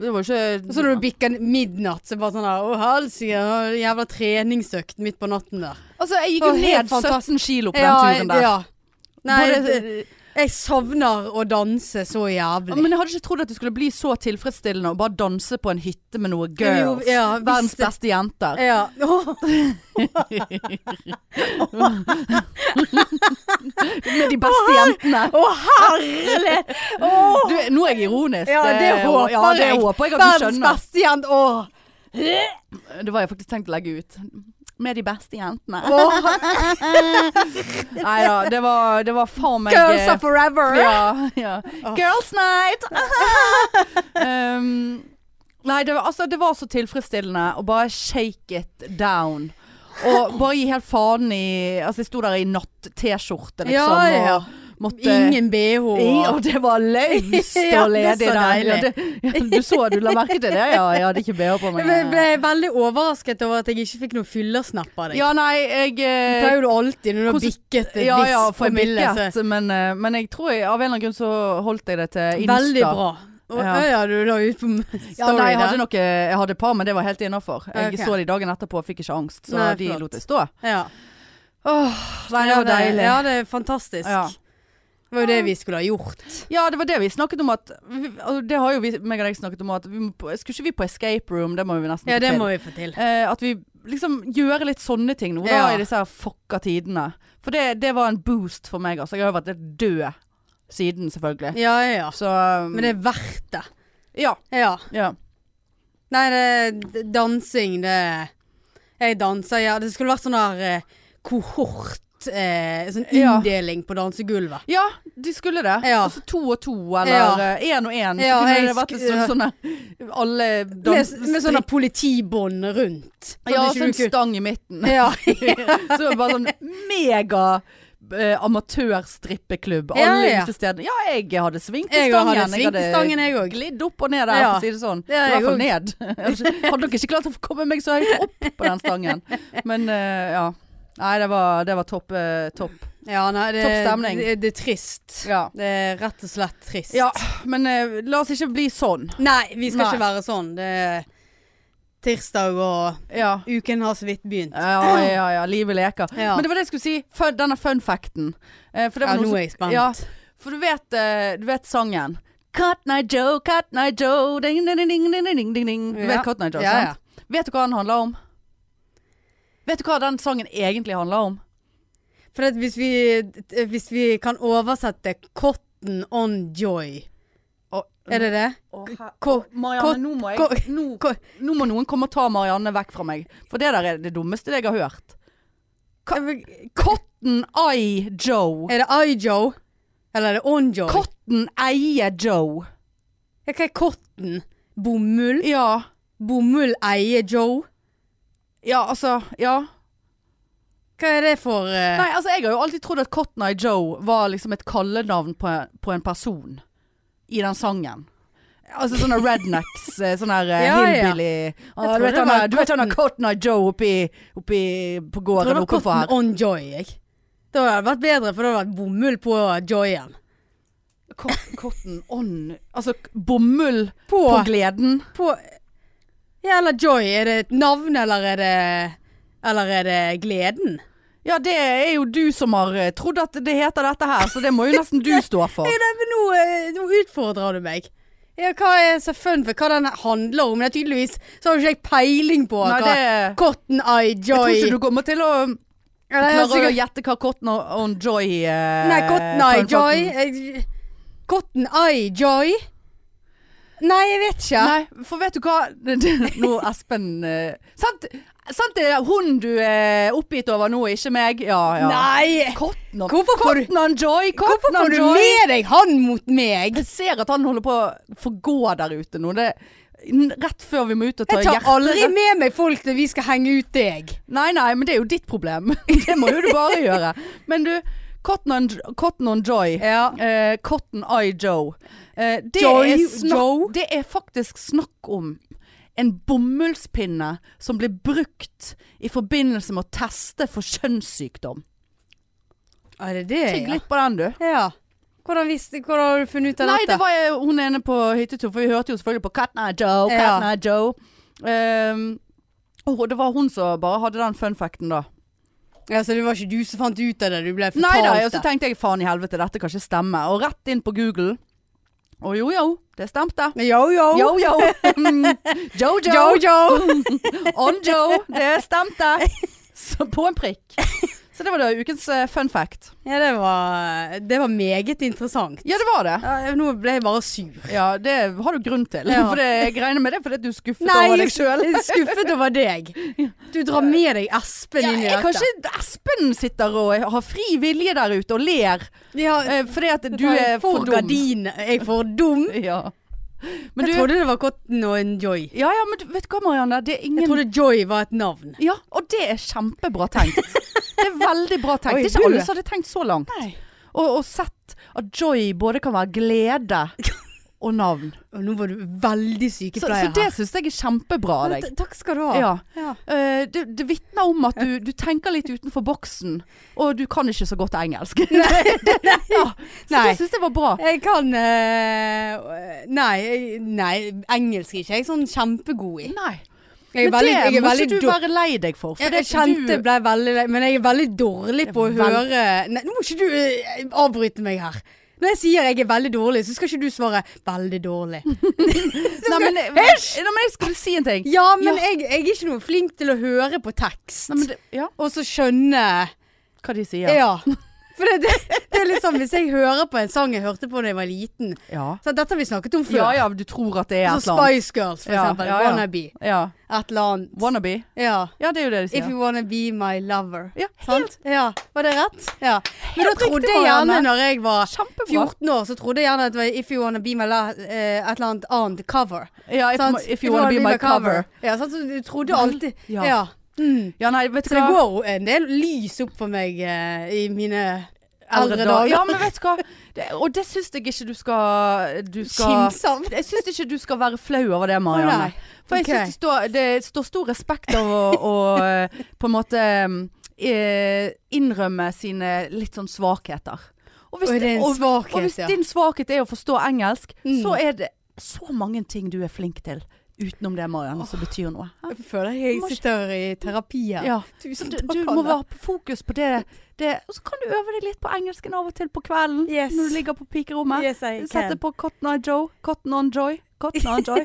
[SPEAKER 1] det var jo
[SPEAKER 2] og
[SPEAKER 1] ikke
[SPEAKER 2] så når du bikker midnatt, så bare sånn der Å, helsike, jeg har en jævla treningsøkt midt på natten der.
[SPEAKER 1] Altså, jeg gikk
[SPEAKER 2] Det
[SPEAKER 1] jo
[SPEAKER 2] var helt
[SPEAKER 1] ned
[SPEAKER 2] fantastisk.
[SPEAKER 1] 17 kilo på
[SPEAKER 2] Ja,
[SPEAKER 1] den turen der.
[SPEAKER 2] Ja. Nei,
[SPEAKER 1] Både,
[SPEAKER 2] det, jeg savner å danse så jævlig.
[SPEAKER 1] men jeg hadde ikke trodd at det skulle bli så tilfredsstillende å bare danse på en hytte med noen girls.
[SPEAKER 2] Jo, ja, Eh, hvis
[SPEAKER 1] Verdens
[SPEAKER 2] det-
[SPEAKER 1] beste jenter.
[SPEAKER 2] ja.
[SPEAKER 1] Med de beste jentene.
[SPEAKER 2] Å, herlig! Åh!
[SPEAKER 1] Du, nå er jeg ironisk. Eh,
[SPEAKER 2] Ja, det håper
[SPEAKER 1] ja, det
[SPEAKER 2] jeg.
[SPEAKER 1] håper jeg at du
[SPEAKER 2] Verdens
[SPEAKER 1] skjønner.
[SPEAKER 2] beste jente. Åh.
[SPEAKER 1] Det var jeg faktisk tenkt å legge ut. Med de beste jentene.
[SPEAKER 2] Åh.
[SPEAKER 1] Nei da, det var, det var faen meg
[SPEAKER 2] Girls
[SPEAKER 1] eh,
[SPEAKER 2] are forever.
[SPEAKER 1] Ja, ja.
[SPEAKER 2] Åh.
[SPEAKER 1] Girls night! um, nei, det var, altså, det var så tilfredsstillende å bare shake it down. Og bare gi helt faen i Altså, jeg sto der i natt-T-skjorte, liksom.
[SPEAKER 2] Ja, ja.
[SPEAKER 1] Og måtte
[SPEAKER 2] Ingen BH.
[SPEAKER 1] I- Og det var løst
[SPEAKER 2] Ja,
[SPEAKER 1] og
[SPEAKER 2] det er
[SPEAKER 1] ledig
[SPEAKER 2] så
[SPEAKER 1] der. Ja,
[SPEAKER 2] deilig.
[SPEAKER 1] det, ja, du så du la merke til det? Ja, jeg hadde ikke BH på meg.
[SPEAKER 2] Jeg ble veldig overrasket over at jeg ikke fikk noen fyllersnapp av deg.
[SPEAKER 1] Ja, nei, jeg
[SPEAKER 2] Det
[SPEAKER 1] eh,
[SPEAKER 2] pleier jo du alltid når du har
[SPEAKER 1] Hvordan-
[SPEAKER 2] bikket et
[SPEAKER 1] Ja, ja,
[SPEAKER 2] visst
[SPEAKER 1] for jeg
[SPEAKER 2] promille. så-
[SPEAKER 1] bikket, men, eh, men jeg tror jeg, av en eller annen grunn så holdt jeg det til Insta.
[SPEAKER 2] Veldig bra. Og
[SPEAKER 1] Ja.
[SPEAKER 2] ja. ja, du la ut på
[SPEAKER 1] Ja,
[SPEAKER 2] story
[SPEAKER 1] nei, jeg hadde,
[SPEAKER 2] der.
[SPEAKER 1] noe, jeg hadde et par, men det var helt innafor. Jeg
[SPEAKER 2] Ok.
[SPEAKER 1] så de dagen etterpå og fikk ikke angst, så
[SPEAKER 2] Nei,
[SPEAKER 1] de
[SPEAKER 2] flott.
[SPEAKER 1] lot det stå.
[SPEAKER 2] Ja.
[SPEAKER 1] Åh, nei, det
[SPEAKER 2] Ja,
[SPEAKER 1] var deilig.
[SPEAKER 2] Ja, det er fantastisk.
[SPEAKER 1] Ja.
[SPEAKER 2] Det var jo det vi skulle ha gjort.
[SPEAKER 1] Ja, det var det vi snakket om at vi, og Det har jo vi, meg og deg snakket om at vi må, på- Skulle ikke vi på escape room? Det må vi nesten
[SPEAKER 2] Ja,
[SPEAKER 1] få
[SPEAKER 2] det
[SPEAKER 1] til.
[SPEAKER 2] må vi få til.
[SPEAKER 1] Eh, at vi liksom gjør litt sånne ting nå, da
[SPEAKER 2] Ja.
[SPEAKER 1] i disse her fucka tidene. For det, det var en boost for meg, altså. Jeg har jo vært helt død siden, selvfølgelig.
[SPEAKER 2] Ja, ja, ja.
[SPEAKER 1] Så um,
[SPEAKER 2] Men det er verdt det.
[SPEAKER 1] Ja.
[SPEAKER 2] Ja.
[SPEAKER 1] ja.
[SPEAKER 2] Nei, det, d- dansing, det Jeg danser, ja. Det skulle vært sånn der eh, kohort eh, Sånn
[SPEAKER 1] Ja.
[SPEAKER 2] inndeling på dansegulvet.
[SPEAKER 1] Ja, de skulle det.
[SPEAKER 2] Ja.
[SPEAKER 1] Altså to og to, eller
[SPEAKER 2] Ja.
[SPEAKER 1] eh, én og én.
[SPEAKER 2] Ja,
[SPEAKER 1] så kunne
[SPEAKER 2] jeg
[SPEAKER 1] det vært
[SPEAKER 2] sk-
[SPEAKER 1] sånn, sånne Alle
[SPEAKER 2] Med,
[SPEAKER 1] dans...
[SPEAKER 2] med sånne politibånd rundt. Sånn
[SPEAKER 1] ja,
[SPEAKER 2] at ikke
[SPEAKER 1] sånn
[SPEAKER 2] du kunne-
[SPEAKER 1] stang i midten.
[SPEAKER 2] ja.
[SPEAKER 1] Så det var bare sånn mega eh, amatørstrippeklubb.
[SPEAKER 2] Ja,
[SPEAKER 1] Alle
[SPEAKER 2] ja.
[SPEAKER 1] utestedene. Ja, jeg hadde svingt i
[SPEAKER 2] Jeg
[SPEAKER 1] stangen.
[SPEAKER 2] hadde svingt i stangen, jeg òg.
[SPEAKER 1] glidd opp og ned der,
[SPEAKER 2] Ja.
[SPEAKER 1] for å si det sånn.
[SPEAKER 2] Ja,
[SPEAKER 1] I
[SPEAKER 2] jeg
[SPEAKER 1] hvert fall ned. Hadde nok ikke klart å komme meg så høyt opp på den stangen. Men eh, ja. Nei, det var, det var topp. eh, topp.
[SPEAKER 2] Ja, nei, det,
[SPEAKER 1] Topp stemning.
[SPEAKER 2] Det, det er trist.
[SPEAKER 1] Ja.
[SPEAKER 2] Det er rett og slett trist.
[SPEAKER 1] ja, men eh, la oss ikke bli sånn.
[SPEAKER 2] Nei, vi skal
[SPEAKER 1] Nei.
[SPEAKER 2] ikke være sånn. Det er tirsdag, og
[SPEAKER 1] Ja.
[SPEAKER 2] uken har så vidt begynt.
[SPEAKER 1] Ja, ja, ja. Livet leker.
[SPEAKER 2] Ja.
[SPEAKER 1] Men det var det jeg skulle si. Fun, denne fun facten. Eh, for, det
[SPEAKER 2] Ja,
[SPEAKER 1] var noe
[SPEAKER 2] nå
[SPEAKER 1] som-
[SPEAKER 2] er jeg spent.
[SPEAKER 1] Ja, for du vet, eh, du vet sangen. Cotton Eye Joe, Cotton Eye Joe, ding, ding, ding, ding, ding, ding, ding, ding. Du
[SPEAKER 2] Ja.
[SPEAKER 1] vet Cotton Eye Joe,
[SPEAKER 2] Ja,
[SPEAKER 1] sant? Vet du hva den handler om? Vet du hva den sangen egentlig handler om?
[SPEAKER 2] For at hvis, vi, hvis vi kan oversette 'cotton on joy',
[SPEAKER 1] Å,
[SPEAKER 2] er det det? Ko-
[SPEAKER 1] Marianne, nå må,
[SPEAKER 2] ko-
[SPEAKER 1] jeg, nå,
[SPEAKER 2] ko-
[SPEAKER 1] nå må noen komme og ta Marianne vekk fra meg. For det der er det dummeste jeg har hørt. Cotton Eye Joe.
[SPEAKER 2] Er det I-Joe? Eller er det On-Joe?
[SPEAKER 1] Cotton Eie Joe.
[SPEAKER 2] Ja, Hva er cotton? Bomull?
[SPEAKER 1] Ja.
[SPEAKER 2] Bomull eier Joe?
[SPEAKER 1] Ja, altså Ja.
[SPEAKER 2] Hva er det for eh,
[SPEAKER 1] Nei, altså, jeg har jo alltid trodd at Cotton Eye Joe var liksom et kallenavn på, på en person i den sangen. Altså sånne rednecks, eh, sånne her eh,
[SPEAKER 2] Ja, ja.
[SPEAKER 1] hillbilly ah,
[SPEAKER 2] trodde
[SPEAKER 1] du, vet
[SPEAKER 2] det
[SPEAKER 1] han
[SPEAKER 2] var
[SPEAKER 1] der- du vet han der Cotton Eye Joe oppi, oppi
[SPEAKER 2] Jeg
[SPEAKER 1] på
[SPEAKER 2] tror
[SPEAKER 1] gården
[SPEAKER 2] det var
[SPEAKER 1] oppenfor
[SPEAKER 2] cotton
[SPEAKER 1] her.
[SPEAKER 2] on joy, jeg. Da hadde det vært bedre, for da hadde det vært bomull på joyen.
[SPEAKER 1] Cotton, cotton on Altså k- bomull
[SPEAKER 2] På,
[SPEAKER 1] på gleden.
[SPEAKER 2] på Ja, eller joy. Er det et navn, eller er det Eller er det gleden?
[SPEAKER 1] Ja, det er jo du som har eh, trodd at det heter dette her, så det må jo nesten du stå for.
[SPEAKER 2] Ja, nei, men nå, eh, nå utfordrer du meg. Ja, hva er så fun for hva den handler om? Det er tydeligvis så har jo ikke jeg peiling på
[SPEAKER 1] Nei,
[SPEAKER 2] hva
[SPEAKER 1] det Jeg
[SPEAKER 2] Cotton Eye
[SPEAKER 1] tror
[SPEAKER 2] Joy
[SPEAKER 1] ikke du kommer til å
[SPEAKER 2] Ja, det er
[SPEAKER 1] klare å
[SPEAKER 2] sikkert-
[SPEAKER 1] gjette hva Cotton on Joy eh,
[SPEAKER 2] Nei, Cotton Eye
[SPEAKER 1] fun
[SPEAKER 2] Joy
[SPEAKER 1] facten-
[SPEAKER 2] jeg- Cotton Eye Joy Nei, jeg vet ikke.
[SPEAKER 1] Nei, for vet du hva Det- det- Nå Espen eh, sant, sant det er hun du er oppgitt over nå, ikke meg? Ja, ja
[SPEAKER 2] Nei.
[SPEAKER 1] Cotton on,
[SPEAKER 2] Hvorfor får du-
[SPEAKER 1] Cotton on Joy
[SPEAKER 2] Hvorfor
[SPEAKER 1] Cotton
[SPEAKER 2] får
[SPEAKER 1] on
[SPEAKER 2] du
[SPEAKER 1] Joy
[SPEAKER 2] med deg han mot meg?
[SPEAKER 1] Jeg ser at han holder på å forgå der ute nå det, n- Rett før vi må ut og ta
[SPEAKER 2] Jeg tar
[SPEAKER 1] hjertet
[SPEAKER 2] aldri med meg folk når vi skal henge ut deg.
[SPEAKER 1] Nei, nei, men det er jo ditt problem Det må jo du bare gjøre Men du, Cotton on, Cotton on Joy
[SPEAKER 2] Ja.
[SPEAKER 1] Eh, Cotton Eye Joe. Eh, det,
[SPEAKER 2] Joy
[SPEAKER 1] er snakk,
[SPEAKER 2] Joe?
[SPEAKER 1] det er faktisk snakk om en bomullspinne som ble brukt i forbindelse med å teste for kjønnssykdom.
[SPEAKER 2] Er det det,
[SPEAKER 1] Tygg litt på den, du.
[SPEAKER 2] ja? ja. Hvordan, visste, hvordan har du funnet ut av
[SPEAKER 1] Nei,
[SPEAKER 2] dette?
[SPEAKER 1] det var jeg, hun ene på hyttetur, for vi hørte jo selvfølgelig på Cotton Eye Joe,
[SPEAKER 2] Ja.
[SPEAKER 1] Cotton Eye Joe. Ehm, og det var hun som bare hadde den fun facten da.
[SPEAKER 2] Ja, så det var ikke du som fant ut av det? Du ble
[SPEAKER 1] Nei da, og
[SPEAKER 2] fortalt
[SPEAKER 1] så
[SPEAKER 2] det?
[SPEAKER 1] tenkte jeg faen i helvete, dette kan ikke stemme. Og rett inn på Google. Og jo jo, det stemte.
[SPEAKER 2] Yo, yo.
[SPEAKER 1] Yo yo. Mm. Jojo.
[SPEAKER 2] Yo, yo.
[SPEAKER 1] On Joe, det stemte. Så på en prikk. Så det var da ukens eh, fun fact.
[SPEAKER 2] Ja, det var, det var meget interessant.
[SPEAKER 1] Ja, det var det.
[SPEAKER 2] Ja, nå ble jeg bare sur.
[SPEAKER 1] Ja, det har du grunn til.
[SPEAKER 2] Ja.
[SPEAKER 1] For det, jeg regner med det fordi at du er skuffet
[SPEAKER 2] Nei, jeg
[SPEAKER 1] over deg sjøl.
[SPEAKER 2] er skuffet over deg. Du drar med deg Espen
[SPEAKER 1] Ja,
[SPEAKER 2] inn i dette.
[SPEAKER 1] jeg kan ikke Espen sitter og har fri vilje der ute og ler
[SPEAKER 2] Ja,
[SPEAKER 1] eh, fordi at du
[SPEAKER 2] jeg
[SPEAKER 1] er for dum.
[SPEAKER 2] gardin- Jeg er for dum.
[SPEAKER 1] Ja. Men
[SPEAKER 2] jeg
[SPEAKER 1] du,
[SPEAKER 2] trodde det var Cotton og en Joy.
[SPEAKER 1] ja, ja, men du- vet du hva, Marianne? Det er
[SPEAKER 2] Jeg
[SPEAKER 1] ingen
[SPEAKER 2] trodde Joy var et navn.
[SPEAKER 1] Ja, og det er kjempebra tenkt. Det er veldig bra tenkt.
[SPEAKER 2] Oi,
[SPEAKER 1] det er ikke
[SPEAKER 2] du.
[SPEAKER 1] alle som hadde tenkt så langt.
[SPEAKER 2] Nei.
[SPEAKER 1] Og, og sett at joy både kan være glede og navn.
[SPEAKER 2] Og nå var du veldig
[SPEAKER 1] Så,
[SPEAKER 2] sykepleier
[SPEAKER 1] så det syns jeg er kjempebra av
[SPEAKER 2] her.
[SPEAKER 1] deg.
[SPEAKER 2] Ja, t- Takk skal du ha.
[SPEAKER 1] Ja.
[SPEAKER 2] Ja.
[SPEAKER 1] Eh, det det vitner om at du, du tenker litt utenfor boksen, og du kan ikke så godt engelsk. ja. Så
[SPEAKER 2] Nei.
[SPEAKER 1] det syns jeg var bra.
[SPEAKER 2] Jeg kan eh, nei, jeg- nei, engelsk er ikke jeg sånn kjempegod i.
[SPEAKER 1] Nei.
[SPEAKER 2] Jeg er
[SPEAKER 1] Men
[SPEAKER 2] veldig,
[SPEAKER 1] det
[SPEAKER 2] jeg er
[SPEAKER 1] må
[SPEAKER 2] veldig
[SPEAKER 1] ikke du
[SPEAKER 2] dårlig
[SPEAKER 1] være lei deg for. for
[SPEAKER 2] Jeg,
[SPEAKER 1] det-
[SPEAKER 2] jeg kjente
[SPEAKER 1] du,
[SPEAKER 2] ble veldig lei, men jeg er veldig dårlig på å
[SPEAKER 1] Vel-
[SPEAKER 2] høre Nei, nå må ikke du eh, avbryte meg her. Når jeg sier jeg er veldig dårlig, så skal ikke du svare 'veldig dårlig'.
[SPEAKER 1] Nei, men, men,
[SPEAKER 2] Hysj!
[SPEAKER 1] nei, men jeg skulle si en ting.
[SPEAKER 2] Ja, men Jeg, jeg er ikke noe flink til å høre på tekst.
[SPEAKER 1] Nei, men, det- ja,
[SPEAKER 2] Og så skjønne
[SPEAKER 1] hva de sier.
[SPEAKER 2] Ja. For det, det, det er litt sånn hvis jeg hører på en sang jeg hørte på da jeg var liten
[SPEAKER 1] Ja.
[SPEAKER 2] så Dette har vi snakket om før.
[SPEAKER 1] ja ja, du tror at det
[SPEAKER 2] Så
[SPEAKER 1] er et eller annet.
[SPEAKER 2] Spice Girls, for
[SPEAKER 1] Ja,
[SPEAKER 2] eksempel.
[SPEAKER 1] ja, ja.
[SPEAKER 2] Wannabe.
[SPEAKER 1] Ja.
[SPEAKER 2] Et eller annet.
[SPEAKER 1] Wannabe.
[SPEAKER 2] ja.
[SPEAKER 1] Ja, det er jo det de
[SPEAKER 2] If
[SPEAKER 1] sier.
[SPEAKER 2] you wanna be my lover.
[SPEAKER 1] Ja, helt
[SPEAKER 2] Sant? Ja. Var det rett? Ja. Men da
[SPEAKER 1] riktig,
[SPEAKER 2] trodde jeg
[SPEAKER 1] Marianne.
[SPEAKER 2] gjerne når jeg var
[SPEAKER 1] kjempebra.
[SPEAKER 2] 14 år, så trodde jeg gjerne at det var If you wanna be my la eh, et eller annet annet cover.
[SPEAKER 1] Ja, if,
[SPEAKER 2] sant?
[SPEAKER 1] if you, wanna be my cover.
[SPEAKER 2] Ja, sant? Så du trodde alltid
[SPEAKER 1] Ja.
[SPEAKER 2] Ja. Mm.
[SPEAKER 1] Ja, nei, vet
[SPEAKER 2] Så
[SPEAKER 1] du
[SPEAKER 2] det
[SPEAKER 1] hva.
[SPEAKER 2] går en del lys opp for meg eh, i mine
[SPEAKER 1] Eldre
[SPEAKER 2] eldre dager.
[SPEAKER 1] Ja, men vet du hva. Det, og det syns jeg ikke du skal Du skal
[SPEAKER 2] Kimsam.
[SPEAKER 1] Jeg syns ikke du skal være flau over det, Marianne.
[SPEAKER 2] Å, nei.
[SPEAKER 1] For jeg
[SPEAKER 2] Ok.
[SPEAKER 1] syns det, står- det står stor respekt av å, å eh, på en måte eh, innrømme sine litt sånn svakheter. Og
[SPEAKER 2] Og det er en
[SPEAKER 1] og-
[SPEAKER 2] svakhet,
[SPEAKER 1] og hvis
[SPEAKER 2] ja.
[SPEAKER 1] din svakhet er å forstå engelsk,
[SPEAKER 2] Mm.
[SPEAKER 1] så er det så mange ting du er flink til utenom det, Marianne, som betyr noe.
[SPEAKER 2] Jeg føler jeg
[SPEAKER 1] Må ikke-
[SPEAKER 2] sitter i terapi her.
[SPEAKER 1] Ja. Så
[SPEAKER 2] Tusen
[SPEAKER 1] du,
[SPEAKER 2] takk,
[SPEAKER 1] du må
[SPEAKER 2] Anna.
[SPEAKER 1] være på fokus på det, det. Og så kan du øve deg litt på engelsken av og til på kvelden
[SPEAKER 2] Yes.
[SPEAKER 1] når du ligger på pikerommet.
[SPEAKER 2] Yes, I
[SPEAKER 1] Sette
[SPEAKER 2] can.
[SPEAKER 1] på Cotton Eye Joe. Cotton on Joy. Cotton on Joy.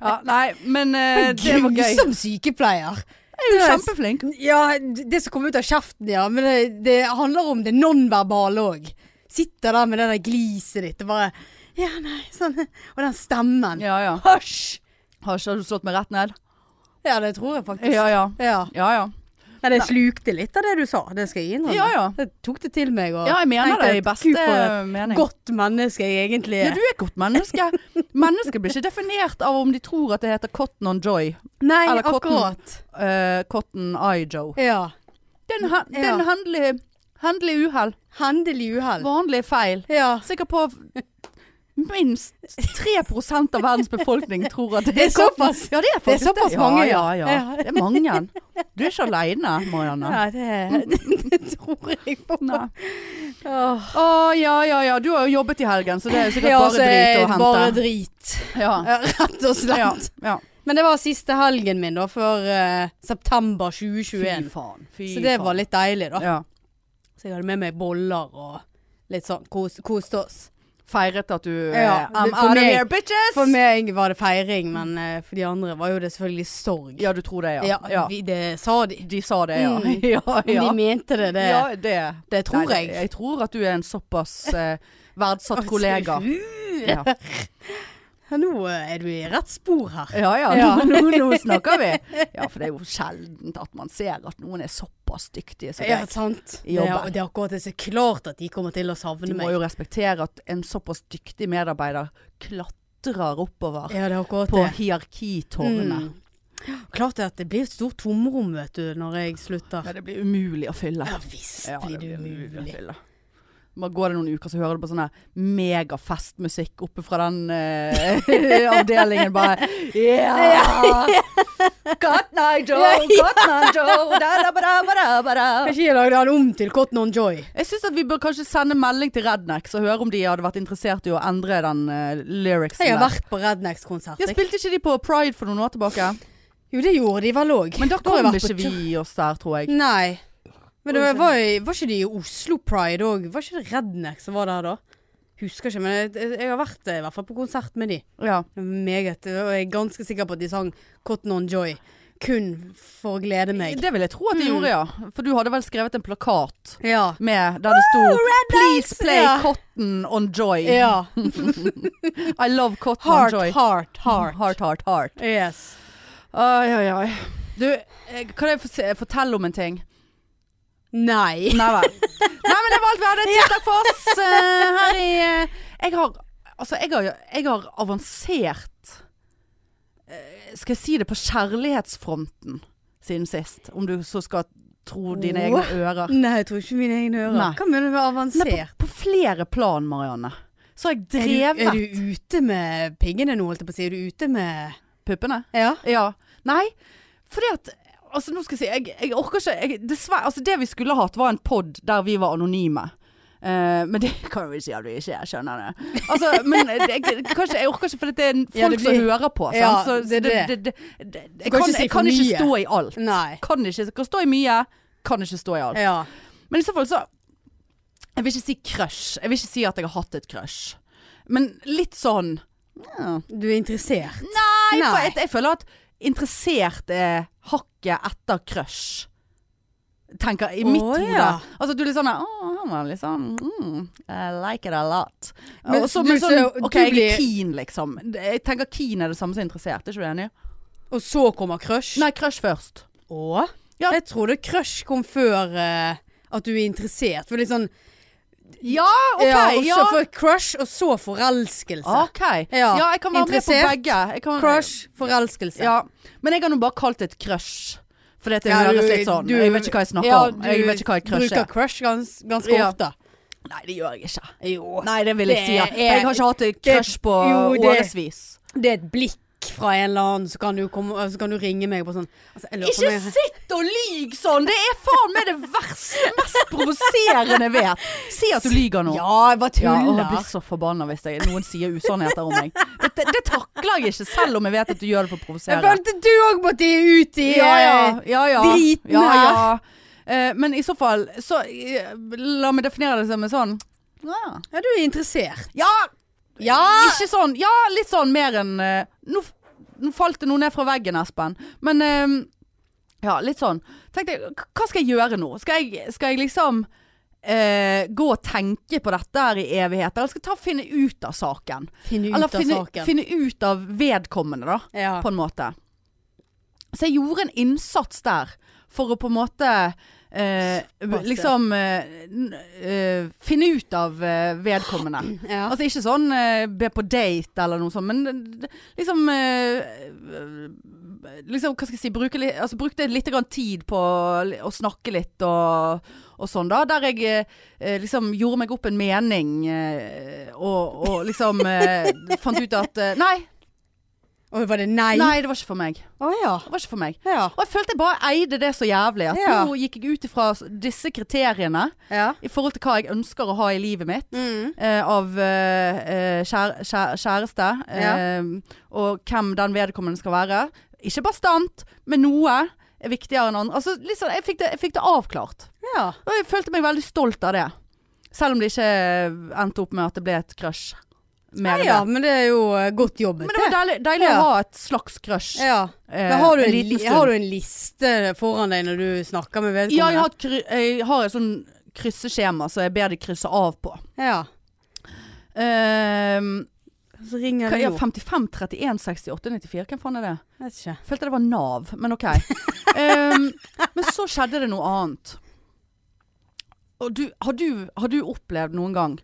[SPEAKER 1] ja, nei, men eh, det var gøy.
[SPEAKER 2] Grusom sykepleier.
[SPEAKER 1] Du er jo
[SPEAKER 2] Det er-
[SPEAKER 1] kjempeflink.
[SPEAKER 2] Ja, det som kom ut av kjeften, ja. Men det, det handler om det nonverbale òg. Sitter der med det der gliset ditt og bare Ja, nei, sånn. Og den stemmen.
[SPEAKER 1] Ja, ja.
[SPEAKER 2] Hysj!
[SPEAKER 1] Har ikke du slått meg rett ned?
[SPEAKER 2] Ja, det tror jeg faktisk.
[SPEAKER 1] Ja, ja.
[SPEAKER 2] Ja.
[SPEAKER 1] Ja, ja.
[SPEAKER 2] Nei, det slukte litt av det du sa. Det skal jeg innrømme.
[SPEAKER 1] Ja, ja.
[SPEAKER 2] Det tok det til meg. Og
[SPEAKER 1] ja jeg mener
[SPEAKER 2] tenkte,
[SPEAKER 1] det i beste
[SPEAKER 2] Gud, for et
[SPEAKER 1] mening.
[SPEAKER 2] Godt menneske jeg egentlig
[SPEAKER 1] Ja,
[SPEAKER 2] er.
[SPEAKER 1] du er et godt menneske. Mennesker blir ikke definert av om de tror at det heter Cotton on Joy.
[SPEAKER 2] Nei,
[SPEAKER 1] Eller cotton.
[SPEAKER 2] akkurat.
[SPEAKER 1] eh, cotton Eye Joe.
[SPEAKER 2] Ja.
[SPEAKER 1] Det er en hen- det er en
[SPEAKER 2] Ja.
[SPEAKER 1] hendelig, hendelig uhell.
[SPEAKER 2] Hendelig uhell.
[SPEAKER 1] Vanlig feil.
[SPEAKER 2] Ja.
[SPEAKER 1] Sikkert på minst 3 av verdens befolkning tror at det
[SPEAKER 2] Det
[SPEAKER 1] er
[SPEAKER 2] er såpass.
[SPEAKER 1] Ja, det er
[SPEAKER 2] Det er
[SPEAKER 1] faktisk det.
[SPEAKER 2] såpass mange, ja.
[SPEAKER 1] ja. Ja, ja. Det er mange. Du er ikke aleine, Marianne.
[SPEAKER 2] Nei, det, det tror jeg på.
[SPEAKER 1] Nei.
[SPEAKER 2] Åh.
[SPEAKER 1] Å ja, ja, ja. Du har jo jobbet i helgen, så det er jo sikkert
[SPEAKER 2] Ja,
[SPEAKER 1] bare
[SPEAKER 2] så er
[SPEAKER 1] drit å
[SPEAKER 2] det
[SPEAKER 1] hente.
[SPEAKER 2] Bare drit.
[SPEAKER 1] Ja.
[SPEAKER 2] Ja, Rett og slett.
[SPEAKER 1] Ja, ja.
[SPEAKER 2] Men det var siste helgen min da, før eh, september
[SPEAKER 1] Fy
[SPEAKER 2] 2021.
[SPEAKER 1] faen. Fy
[SPEAKER 2] Så det var
[SPEAKER 1] faen.
[SPEAKER 2] litt deilig, da.
[SPEAKER 1] ja.
[SPEAKER 2] Så jeg hadde med meg boller og litt sånn. Kos- Koste oss.
[SPEAKER 1] Feiret at du
[SPEAKER 2] Ja,
[SPEAKER 1] eh, I'm
[SPEAKER 2] for
[SPEAKER 1] out of
[SPEAKER 2] meg-
[SPEAKER 1] here, bitches!
[SPEAKER 2] For meg var det feiring, men eh, for de andre var jo det selvfølgelig sorg.
[SPEAKER 1] Ja, du tror det, ja.
[SPEAKER 2] Ja, Vi, det sa de.
[SPEAKER 1] De sa det, ja.
[SPEAKER 2] Mm.
[SPEAKER 1] ja,
[SPEAKER 2] Men
[SPEAKER 1] ja.
[SPEAKER 2] de mente det, det,
[SPEAKER 1] ja, det
[SPEAKER 2] det tror
[SPEAKER 1] Nei,
[SPEAKER 2] jeg.
[SPEAKER 1] Jeg tror at du er en såpass eh, verdsatt kollega. Ja.
[SPEAKER 2] Ja, nå eh, er du i rett spor her.
[SPEAKER 1] Ja ja,
[SPEAKER 2] Ja.
[SPEAKER 1] Nå, nå snakker vi. Ja, for det er jo sjeldent at man ser at noen er såpass dyktige som
[SPEAKER 2] Ja,
[SPEAKER 1] deg.
[SPEAKER 2] sant.
[SPEAKER 1] I
[SPEAKER 2] Det er,
[SPEAKER 1] jobben.
[SPEAKER 2] og det er akkurat det. Så klart at de kommer til å savne
[SPEAKER 1] Du må
[SPEAKER 2] meg.
[SPEAKER 1] jo respektere at en såpass dyktig medarbeider klatrer oppover
[SPEAKER 2] Ja, det er akkurat
[SPEAKER 1] på
[SPEAKER 2] det.
[SPEAKER 1] hierarkitårnet.
[SPEAKER 2] Mm. Klart det at det blir et stort tomrom, vet du, når jeg slutter.
[SPEAKER 1] Ja, det blir umulig å fylle.
[SPEAKER 2] Ja visst
[SPEAKER 1] Ja,
[SPEAKER 2] blir det
[SPEAKER 1] å
[SPEAKER 2] umulig.
[SPEAKER 1] fylle. Bare går det noen uker, så hører du på sånn her megafestmusikk oppe fra den eh, avdelingen. Bare Yeah! Godt night, Joe! Godt night, Joe! Da, da, ba, da, ba, da, ba, da.
[SPEAKER 2] Kanskje jeg lagde han om til Cotton on Joy.
[SPEAKER 1] Jeg syns at vi bør kanskje sende melding til Rednex og høre om de hadde vært interessert i å endre den eh, lyricsen.
[SPEAKER 2] Jeg har
[SPEAKER 1] der.
[SPEAKER 2] vært på Rednex-konsert.
[SPEAKER 1] Ja,
[SPEAKER 2] jeg.
[SPEAKER 1] spilte ikke de på Pride for noen år tilbake?
[SPEAKER 2] Jo, det gjorde de vel òg.
[SPEAKER 1] Men da
[SPEAKER 2] har jeg
[SPEAKER 1] kom
[SPEAKER 2] vært
[SPEAKER 1] ikke
[SPEAKER 2] på tur.
[SPEAKER 1] vi oss der, tror jeg.
[SPEAKER 2] Nei. Men det var, var, var ikke de i Oslo Pride òg? Var ikke det Rednex som var der da? Husker ikke, men jeg, jeg har vært eh, i hvert fall på konsert med de.
[SPEAKER 1] Ja.
[SPEAKER 2] Meget. Og jeg er ganske sikker på at de sang Cotton on Joy kun for å glede meg.
[SPEAKER 1] Det vil jeg tro at de gjorde, ja. For du hadde vel skrevet en plakat
[SPEAKER 2] Ja.
[SPEAKER 1] med der det sto 'Please play
[SPEAKER 2] Ja.
[SPEAKER 1] Cotton on Joy'.
[SPEAKER 2] ja.
[SPEAKER 1] I love Cotton
[SPEAKER 2] Heart,
[SPEAKER 1] on Joy.
[SPEAKER 2] heart, heart.
[SPEAKER 1] Heart, heart, heart.
[SPEAKER 2] Yes.
[SPEAKER 1] Oi, oi, oi. Du, eh, kan jeg få se- fortelle om en ting?
[SPEAKER 2] Nei.
[SPEAKER 1] Nei vel. Nei, men det var alt vi hadde tirsdag for oss eh, her i eh, Jeg har Altså, jeg har, jeg har avansert eh, Skal jeg si det på kjærlighetsfronten siden sist? Om du så skal tro dine egne
[SPEAKER 2] What?
[SPEAKER 1] ører.
[SPEAKER 2] Nei, jeg tror ikke mine egne ører.
[SPEAKER 1] Nei.
[SPEAKER 2] Hva mener du med
[SPEAKER 1] Nei,
[SPEAKER 2] avansert?
[SPEAKER 1] på, på flere plan, Marianne. Så har jeg
[SPEAKER 2] Er du, er
[SPEAKER 1] drevet
[SPEAKER 2] du ute med piggene nå, holdt jeg på å si? Er du ute med
[SPEAKER 1] puppene.
[SPEAKER 2] Ja.
[SPEAKER 1] Ja. Nei, fordi at Altså, nå skal jeg si Jeg, jeg orker ikke jeg, Dessverre. Altså, det vi skulle hatt, var en pod der vi var anonyme. Eh, men det kan jo ikke si at vi ikke er, skjønner du. Altså, men det- jeg, kanskje, jeg orker ikke, for det er en- folk
[SPEAKER 2] Ja, det
[SPEAKER 1] som
[SPEAKER 2] blir-
[SPEAKER 1] hører på. Sant?
[SPEAKER 2] Ja,
[SPEAKER 1] Så
[SPEAKER 2] det er
[SPEAKER 1] det,
[SPEAKER 2] det.
[SPEAKER 1] det, det, det, jeg
[SPEAKER 2] kan
[SPEAKER 1] kan,
[SPEAKER 2] ikke si
[SPEAKER 1] jeg
[SPEAKER 2] for
[SPEAKER 1] kan ikke
[SPEAKER 2] mye.
[SPEAKER 1] stå i alt.
[SPEAKER 2] Nei.
[SPEAKER 1] Kan ikke, kan stå i mye, kan ikke stå i alt.
[SPEAKER 2] Ja.
[SPEAKER 1] Men i så fall så Jeg vil ikke si crush. Jeg vil ikke si at jeg har hatt et crush. Men litt sånn ja.
[SPEAKER 2] Du er interessert.
[SPEAKER 1] Nei,
[SPEAKER 2] Nei.
[SPEAKER 1] for jeg, jeg føler at interessert er hakket etter crush. Tenker i mitt
[SPEAKER 2] Å,
[SPEAKER 1] hode.
[SPEAKER 2] ja.
[SPEAKER 1] Altså du er litt sånn Å, han var litt sånn mm, I like it a lot.
[SPEAKER 2] Men
[SPEAKER 1] Men, Også,
[SPEAKER 2] du
[SPEAKER 1] men sånn
[SPEAKER 2] ser-
[SPEAKER 1] OK,
[SPEAKER 2] du
[SPEAKER 1] jeg
[SPEAKER 2] blir-
[SPEAKER 1] er keen, liksom. Jeg tenker keen er det samme som interessert. Er ikke du enig?
[SPEAKER 2] Og så kommer crush.
[SPEAKER 1] Nei, crush først.
[SPEAKER 2] Å?
[SPEAKER 1] Ja.
[SPEAKER 2] Jeg trodde crush kom før eh, at du er interessert. For litt sånn
[SPEAKER 1] Ja, OK.
[SPEAKER 2] ja, og
[SPEAKER 1] Ja,
[SPEAKER 2] så for crush, og så forelskelse.
[SPEAKER 1] OK. Ja,
[SPEAKER 2] Ja.
[SPEAKER 1] jeg kan være med på
[SPEAKER 2] Interessert.
[SPEAKER 1] begge. Jeg kan,
[SPEAKER 2] Crush, forelskelse.
[SPEAKER 1] Ja, men jeg har nå bare kalt det et crush. For det
[SPEAKER 2] Ja,
[SPEAKER 1] høres
[SPEAKER 2] du-
[SPEAKER 1] litt sånn.
[SPEAKER 2] du-
[SPEAKER 1] jeg vet ikke hva jeg snakker
[SPEAKER 2] Ja,
[SPEAKER 1] om. Jeg vet ikke hva et
[SPEAKER 2] Du
[SPEAKER 1] crush
[SPEAKER 2] bruker
[SPEAKER 1] er.
[SPEAKER 2] crush gans, ganske
[SPEAKER 1] Ja.
[SPEAKER 2] ofte.
[SPEAKER 1] Nei, det gjør jeg ikke.
[SPEAKER 2] Jo.
[SPEAKER 1] Nei, det vil jeg
[SPEAKER 2] Det
[SPEAKER 1] si. Ja.
[SPEAKER 2] er-
[SPEAKER 1] Men jeg har ikke hatt et
[SPEAKER 2] det-
[SPEAKER 1] crush på
[SPEAKER 2] jo, det-
[SPEAKER 1] årevis.
[SPEAKER 2] Det er et blikk fra en eller annen, så kan du, komme, så kan du ringe meg på sånn altså, jeg lurer på om
[SPEAKER 1] Ikke
[SPEAKER 2] jeg-
[SPEAKER 1] sitt og lyg sånn! Det er faen meg det verste, mest provoserende jeg vet. Si at du lyger nå.
[SPEAKER 2] Ja, jeg bare
[SPEAKER 1] Ja, og jeg
[SPEAKER 2] tuller.
[SPEAKER 1] blir så forbanna hvis jeg, noen sier usannheter om meg. Det, det takler jeg ikke, selv om jeg vet at du gjør det for å
[SPEAKER 2] jeg
[SPEAKER 1] provosere.
[SPEAKER 2] følte du òg måtte ut i
[SPEAKER 1] Ja, ja, ja, ja.
[SPEAKER 2] driten
[SPEAKER 1] ja,
[SPEAKER 2] her.
[SPEAKER 1] ja. Eh, men i så fall, så eh, la meg definere det som en sånn ja.
[SPEAKER 2] Ja, du er interessert.
[SPEAKER 1] Ja!
[SPEAKER 2] Ja!
[SPEAKER 1] Ikke sånn. Ja, litt sånn mer enn eh, nå, f- nå falt det noe ned fra veggen, Espen. Men eh, ja, litt sånn. Tenkte jeg, k- hva skal jeg gjøre nå? Skal jeg, skal jeg liksom eh, gå og tenke på dette her i evigheter? Eller skal jeg ta og finne ut av saken?
[SPEAKER 2] Finne ut
[SPEAKER 1] Eller
[SPEAKER 2] av
[SPEAKER 1] finne,
[SPEAKER 2] saken.
[SPEAKER 1] finne ut av vedkommende, da
[SPEAKER 2] ja.
[SPEAKER 1] på en måte. Så jeg gjorde en innsats der for å på en måte eh,
[SPEAKER 2] Såpass, ja.
[SPEAKER 1] liksom eh, n- eh, finne ut av eh, vedkommende.
[SPEAKER 2] ja.
[SPEAKER 1] Altså ikke sånn eh, be på date eller noe sånt, men eh, d- liksom eh, Liksom, hva skal jeg si bruke, li- altså, Brukte litt grann tid på li- å snakke litt og, og sånn, da. Der jeg eh, liksom gjorde meg opp en mening eh, og, og liksom eh, fant ut at eh, Nei,
[SPEAKER 2] Og var det nei?
[SPEAKER 1] nei, det var ikke for meg.
[SPEAKER 2] Å ja.
[SPEAKER 1] Det var ikke for meg.
[SPEAKER 2] Ja.
[SPEAKER 1] Og jeg følte jeg bare eide det så jævlig. At
[SPEAKER 2] Ja.
[SPEAKER 1] nå gikk jeg ut ifra s- disse kriteriene
[SPEAKER 2] ja.
[SPEAKER 1] i forhold til hva jeg ønsker å ha i livet mitt.
[SPEAKER 2] Mm.
[SPEAKER 1] eh, av eh, eh, kjær, kjær, kjæreste. eh, og hvem den vedkommende skal være. Ikke bastant, men noe er viktigere enn andre. Altså, liksom, jeg, fikk det, jeg fikk det avklart.
[SPEAKER 2] ja.
[SPEAKER 1] Og jeg følte meg veldig stolt av det. Selv om det ikke eh, endte opp med at det ble et crush.
[SPEAKER 2] Nei,
[SPEAKER 1] Mer enn
[SPEAKER 2] ja,
[SPEAKER 1] det.
[SPEAKER 2] men det er jo eh, godt jobbet.
[SPEAKER 1] Men det var deilig, deilig
[SPEAKER 2] Ja.
[SPEAKER 1] å ha et slags crush.
[SPEAKER 2] Ja.
[SPEAKER 1] eh,
[SPEAKER 2] Men har du, en,
[SPEAKER 1] liten
[SPEAKER 2] li-
[SPEAKER 1] stund.
[SPEAKER 2] har du en liste foran deg når du snakker med
[SPEAKER 1] Ja, jeg
[SPEAKER 2] vedkommende?
[SPEAKER 1] har, et kry- jeg har et sånn krysseskjema som jeg ber de krysse av på.
[SPEAKER 2] Ja.
[SPEAKER 1] Ehm,
[SPEAKER 2] Så ringer
[SPEAKER 1] hva
[SPEAKER 2] det
[SPEAKER 1] er
[SPEAKER 2] jo.
[SPEAKER 1] 55, 31, 68, 94? Hvem faen er det?
[SPEAKER 2] Vet ikke.
[SPEAKER 1] Følte det var Nav, men OK. Ehm, men så skjedde det noe annet. Og du, har, du, har du opplevd noen gang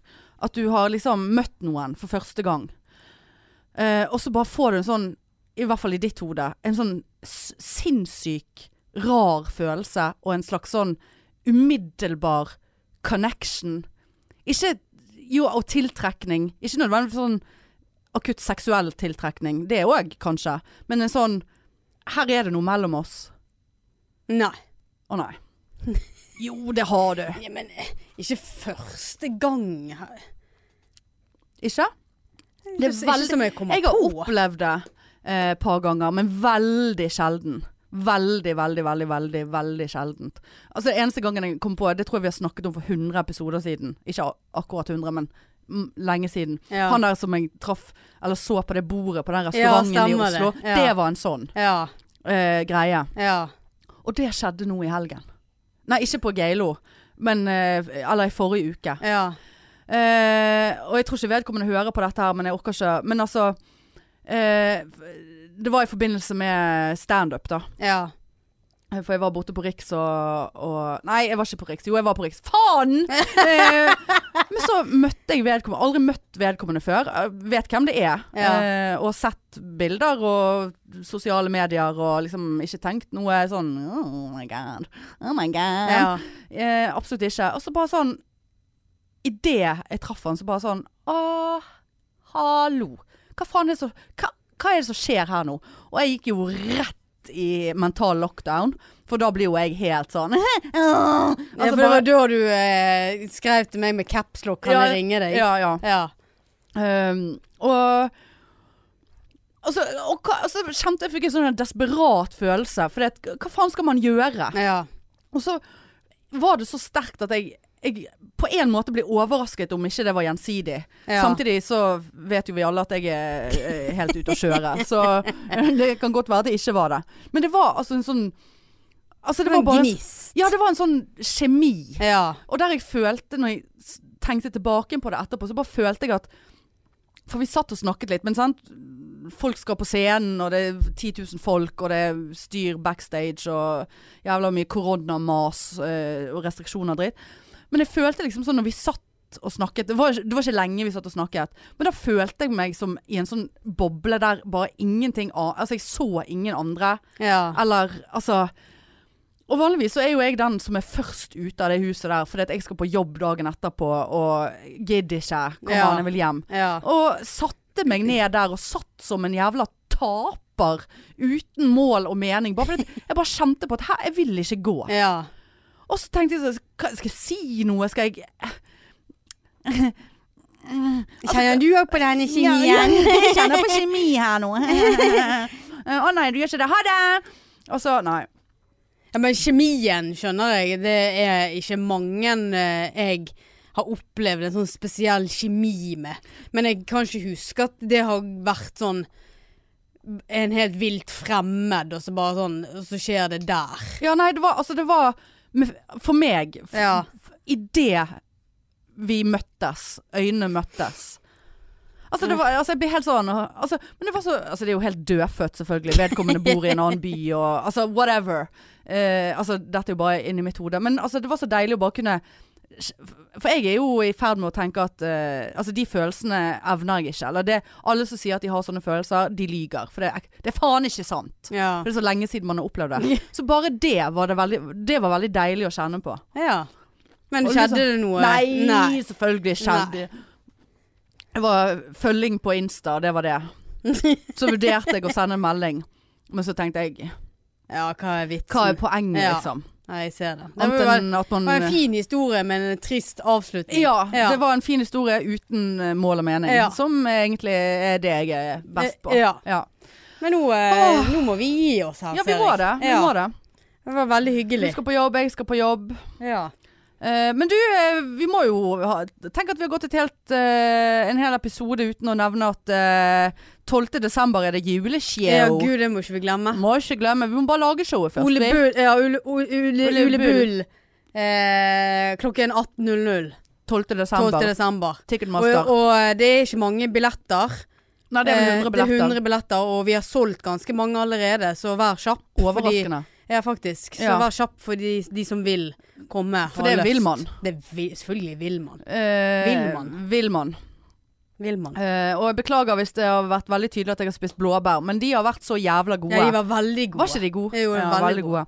[SPEAKER 1] at du har liksom møtt noen for første gang, eh, og så bare får du en sånn, i hvert fall i ditt hode, en sånn s- sinnssyk, rar følelse og en slags sånn umiddelbar connection? Ikke jo, og tiltrekning. Ikke nødvendigvis sånn akutt seksuell tiltrekning, det òg kanskje, men en sånn Her er det noe mellom oss.
[SPEAKER 2] Nei.
[SPEAKER 1] Å nei. Jo, det har du.
[SPEAKER 2] Ja, men eh, ikke første gang. her.
[SPEAKER 1] Ikke?
[SPEAKER 2] Det er
[SPEAKER 1] veldig-
[SPEAKER 2] ikke som jeg kommer
[SPEAKER 1] Jeg har
[SPEAKER 2] på.
[SPEAKER 1] opplevd det et eh, par ganger, men veldig sjelden. Veldig, veldig, veldig, veldig veldig sjeldent. Altså, det eneste gangen jeg kom på, det tror jeg vi har snakket om for 100 episoder siden. Ikke a- akkurat 100, men mm, lenge siden.
[SPEAKER 2] Ja.
[SPEAKER 1] Han der som jeg traff, eller så på det bordet på
[SPEAKER 2] Ja,
[SPEAKER 1] den restauranten i
[SPEAKER 2] stemmer det.
[SPEAKER 1] Oslo, det.
[SPEAKER 2] Ja.
[SPEAKER 1] var en sånn
[SPEAKER 2] ja.
[SPEAKER 1] eh, greie.
[SPEAKER 2] Ja.
[SPEAKER 1] Og det skjedde nå i helgen. Nei, ikke på Geilo, men eh, Eller i forrige uke.
[SPEAKER 2] Ja.
[SPEAKER 1] Eh, og jeg tror ikke vedkommende hører på dette her, men jeg orker ikke Men altså eh, Det var i forbindelse med standup, da.
[SPEAKER 2] Ja.
[SPEAKER 1] For jeg var borte på Riks og, og Nei, jeg var ikke på Riks. Jo, jeg var på Riks. Faen! Eh, men så møtte jeg vedkommende. Aldri møtt vedkommende før. Jeg vet hvem det er.
[SPEAKER 2] Ja.
[SPEAKER 1] Eh, og sett bilder og sosiale medier og liksom ikke tenkt noe sånn Oh my god. Oh my god.
[SPEAKER 2] ja.
[SPEAKER 1] Eh, absolutt ikke. Og så bare sånn Idet jeg traff han, så bare sånn Å, hallo. Hva faen er det som hva, hva er det som skjer her nå? Og jeg gikk jo rett i mental lockdown, for da blir jo jeg helt sånn
[SPEAKER 2] Ja,
[SPEAKER 1] Altså,
[SPEAKER 2] for det var da du eh, skrev til meg med capslock, kan
[SPEAKER 1] Ja,
[SPEAKER 2] jeg ringe deg?
[SPEAKER 1] Ja, ja.
[SPEAKER 2] ja.
[SPEAKER 1] Um, og og så, og hva, altså, kjente jeg fikk en sånn desperat følelse. For hva faen skal man gjøre?
[SPEAKER 2] ja.
[SPEAKER 1] Og så var det så sterkt at jeg jeg på en måte blir overrasket om ikke det var gjensidig.
[SPEAKER 2] Ja.
[SPEAKER 1] Samtidig så vet jo vi alle at jeg er eh, helt ute å kjøre. Så det kan godt være det ikke var det. Men det var altså en sånn Altså det var
[SPEAKER 2] En
[SPEAKER 1] bare en-
[SPEAKER 2] gnist.
[SPEAKER 1] Ja, det var en sånn kjemi.
[SPEAKER 2] Ja.
[SPEAKER 1] Og der jeg følte, når jeg s- tenkte tilbake på det etterpå, så bare følte jeg at For vi satt og snakket litt, men sant. Folk skal på scenen, og det er 10 000 folk, og det er styr backstage, og jævla mye koronamas eh, og restriksjoner og dritt. Men jeg følte liksom sånn når vi satt og snakket det var, ikke- det var ikke lenge vi satt og snakket, men da følte jeg meg som i en sånn boble der bare ingenting annet Altså, jeg så ingen andre.
[SPEAKER 2] ja.
[SPEAKER 1] Eller altså Og vanligvis så er jo jeg den som er først ute av det huset der, fordi at jeg skal på jobb dagen etterpå og gidder ikke. Kom
[SPEAKER 2] Ja.
[SPEAKER 1] an, jeg vil hjem.
[SPEAKER 2] ja.
[SPEAKER 1] Og satte meg ned der og satt som en jævla taper uten mål og mening. Bare fordi at jeg bare kjente på at her, jeg vil ikke gå.
[SPEAKER 2] Ja.
[SPEAKER 1] Og så tenkte jeg sånn "Hva- Skal jeg si noe? Skal jeg
[SPEAKER 2] Kjenner du òg på denne
[SPEAKER 1] Ja,
[SPEAKER 2] kjemien?
[SPEAKER 1] ja, jeg kjenner på kjemi her nå. Å nei, du gjør ikke det. Ha det! Og så Nei.
[SPEAKER 2] Ja, men kjemien, skjønner jeg. Det er ikke mange eh, jeg har opplevd en sånn spesiell kjemi med. Men jeg kan ikke huske at det har vært sånn en helt vilt fremmed, og så bare sånn og Så skjer det der.
[SPEAKER 1] Ja, nei, det var altså det var med- For meg, f-
[SPEAKER 2] Ja.
[SPEAKER 1] f- i det vi møttes, øynene møttes Altså, det var, altså jeg blir helt sånn og- altså, Men det var så Altså, det er jo helt dødfødt, selvfølgelig. Vedkommende bor i en annen by og Altså, whatever. Eh, altså, dette er jo bare inni mitt hode. Men altså, det var så deilig å bare kunne For jeg er jo i ferd med å tenke at eh, Altså, de følelsene evner jeg ikke. Eller det Alle som sier at de har sånne følelser, de lyger. For det, er- det er faen ikke sant.
[SPEAKER 2] Ja.
[SPEAKER 1] For det er så lenge siden man har opplevd det. Så bare det var, det veldig, det var veldig deilig å kjenne på.
[SPEAKER 2] ja. Men
[SPEAKER 1] Og
[SPEAKER 2] skjedde
[SPEAKER 1] liksom-
[SPEAKER 2] det noe?
[SPEAKER 1] Nei,
[SPEAKER 2] Nei.
[SPEAKER 1] selvfølgelig skjedde Det var følging på Insta, det var det. Så vurderte jeg å sende en melding. Men så tenkte jeg,
[SPEAKER 2] Ja, hva er vitsen?
[SPEAKER 1] hva er poenget,
[SPEAKER 2] Ja.
[SPEAKER 1] liksom?
[SPEAKER 2] Nei, jeg ser det. eh, Det
[SPEAKER 1] Annet
[SPEAKER 2] var,
[SPEAKER 1] enn at
[SPEAKER 2] det var en
[SPEAKER 1] man
[SPEAKER 2] fin historie, men en trist avslutning.
[SPEAKER 1] ja, det var en fin historie uten eh, mål og mening.
[SPEAKER 2] Ja.
[SPEAKER 1] Som egentlig er det jeg er best på.
[SPEAKER 2] eh, Ja.
[SPEAKER 1] ja.
[SPEAKER 2] Men nå, eh,
[SPEAKER 1] Åh.
[SPEAKER 2] nå må vi gi oss her,
[SPEAKER 1] Ja, vi må det. Vi
[SPEAKER 2] Ja.
[SPEAKER 1] må det.
[SPEAKER 2] Det var veldig
[SPEAKER 1] Du
[SPEAKER 2] hyggelig.
[SPEAKER 1] skal på jobb, jeg skal på jobb.
[SPEAKER 2] Ja.
[SPEAKER 1] Eh, men du, eh, vi må jo ha, Tenk at vi har gått et helt, eh, en hel episode uten å nevne at eh, 12. desember er det
[SPEAKER 2] ja,
[SPEAKER 1] juleshow.
[SPEAKER 2] gud, det må ikke vi glemme.
[SPEAKER 1] må ikke glemme. Vi må bare lage showet først.
[SPEAKER 2] Ole
[SPEAKER 1] vi.
[SPEAKER 2] Bull, ja, Ole, Ole, Ole,
[SPEAKER 1] Ole
[SPEAKER 2] Ole Bull.
[SPEAKER 1] Bull.
[SPEAKER 2] Eh, klokken 18.00
[SPEAKER 1] 12.
[SPEAKER 2] 12.
[SPEAKER 1] desember.
[SPEAKER 2] desember. Og,
[SPEAKER 1] Ticketmaster.
[SPEAKER 2] og eh, det er ikke mange billetter.
[SPEAKER 1] Nei, det er
[SPEAKER 2] Eh,
[SPEAKER 1] 100
[SPEAKER 2] det er
[SPEAKER 1] billetter.
[SPEAKER 2] 100 billetter, og vi har solgt ganske mange allerede, så vær kjapp. fordi-
[SPEAKER 1] Overraskende.
[SPEAKER 2] ja, faktisk. Så
[SPEAKER 1] Ja.
[SPEAKER 2] vær kjapp for de, de som vil komme.
[SPEAKER 1] For
[SPEAKER 2] har
[SPEAKER 1] det
[SPEAKER 2] lyst.
[SPEAKER 1] vil man.
[SPEAKER 2] Det vil, selvfølgelig vil man.
[SPEAKER 1] Eh,
[SPEAKER 2] Vil man.
[SPEAKER 1] Vil man.
[SPEAKER 2] Vil man.
[SPEAKER 1] Eh, og jeg beklager hvis det har vært veldig tydelig at jeg har spist blåbær, men de har vært så jævla gode.
[SPEAKER 2] Ja, de var veldig gode.
[SPEAKER 1] Var ikke de gode?
[SPEAKER 2] Jo,
[SPEAKER 1] ja,
[SPEAKER 2] veldig
[SPEAKER 1] veldig gode.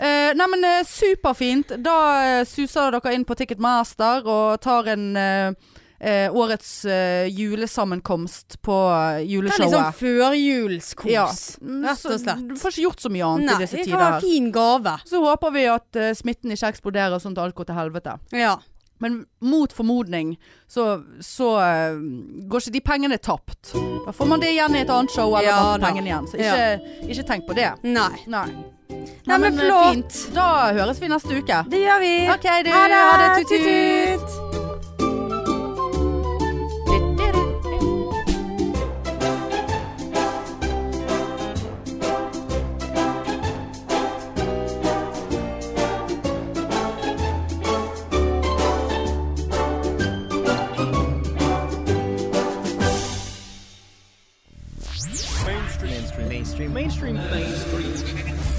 [SPEAKER 1] Eh, nei, men eh, superfint. Da eh, suser dere inn på Ticketmaster og tar en eh, eh, årets eh, julesammenkomst på eh,
[SPEAKER 2] Det er litt sånn
[SPEAKER 1] juleshowet.
[SPEAKER 2] førjulskos,
[SPEAKER 1] Ja.
[SPEAKER 2] rett og slett.
[SPEAKER 1] Du får ikke gjort så mye annet
[SPEAKER 2] Nei,
[SPEAKER 1] i disse
[SPEAKER 2] det kan være en
[SPEAKER 1] tider.
[SPEAKER 2] fin gave.
[SPEAKER 1] Så håper vi at eh, smitten ikke eksploderer sånn at alt går til helvete.
[SPEAKER 2] Ja.
[SPEAKER 1] Men mot formodning så, så eh, går ikke de pengene tapt. Da får man det igjen i et annet show eller
[SPEAKER 2] Ja
[SPEAKER 1] ja,
[SPEAKER 2] da.
[SPEAKER 1] pengene igjen. Så ikke, ikke tenk på det.
[SPEAKER 2] Nei.
[SPEAKER 1] Nei.
[SPEAKER 2] Nei, men
[SPEAKER 1] eh,
[SPEAKER 2] flott.
[SPEAKER 1] Fint. Da høres vi neste uke.
[SPEAKER 2] Det gjør vi.
[SPEAKER 1] OK, du.
[SPEAKER 2] Ha det. Tut,
[SPEAKER 1] Tut-tut.
[SPEAKER 3] mainstream mainstream mainstream mainstream mainstream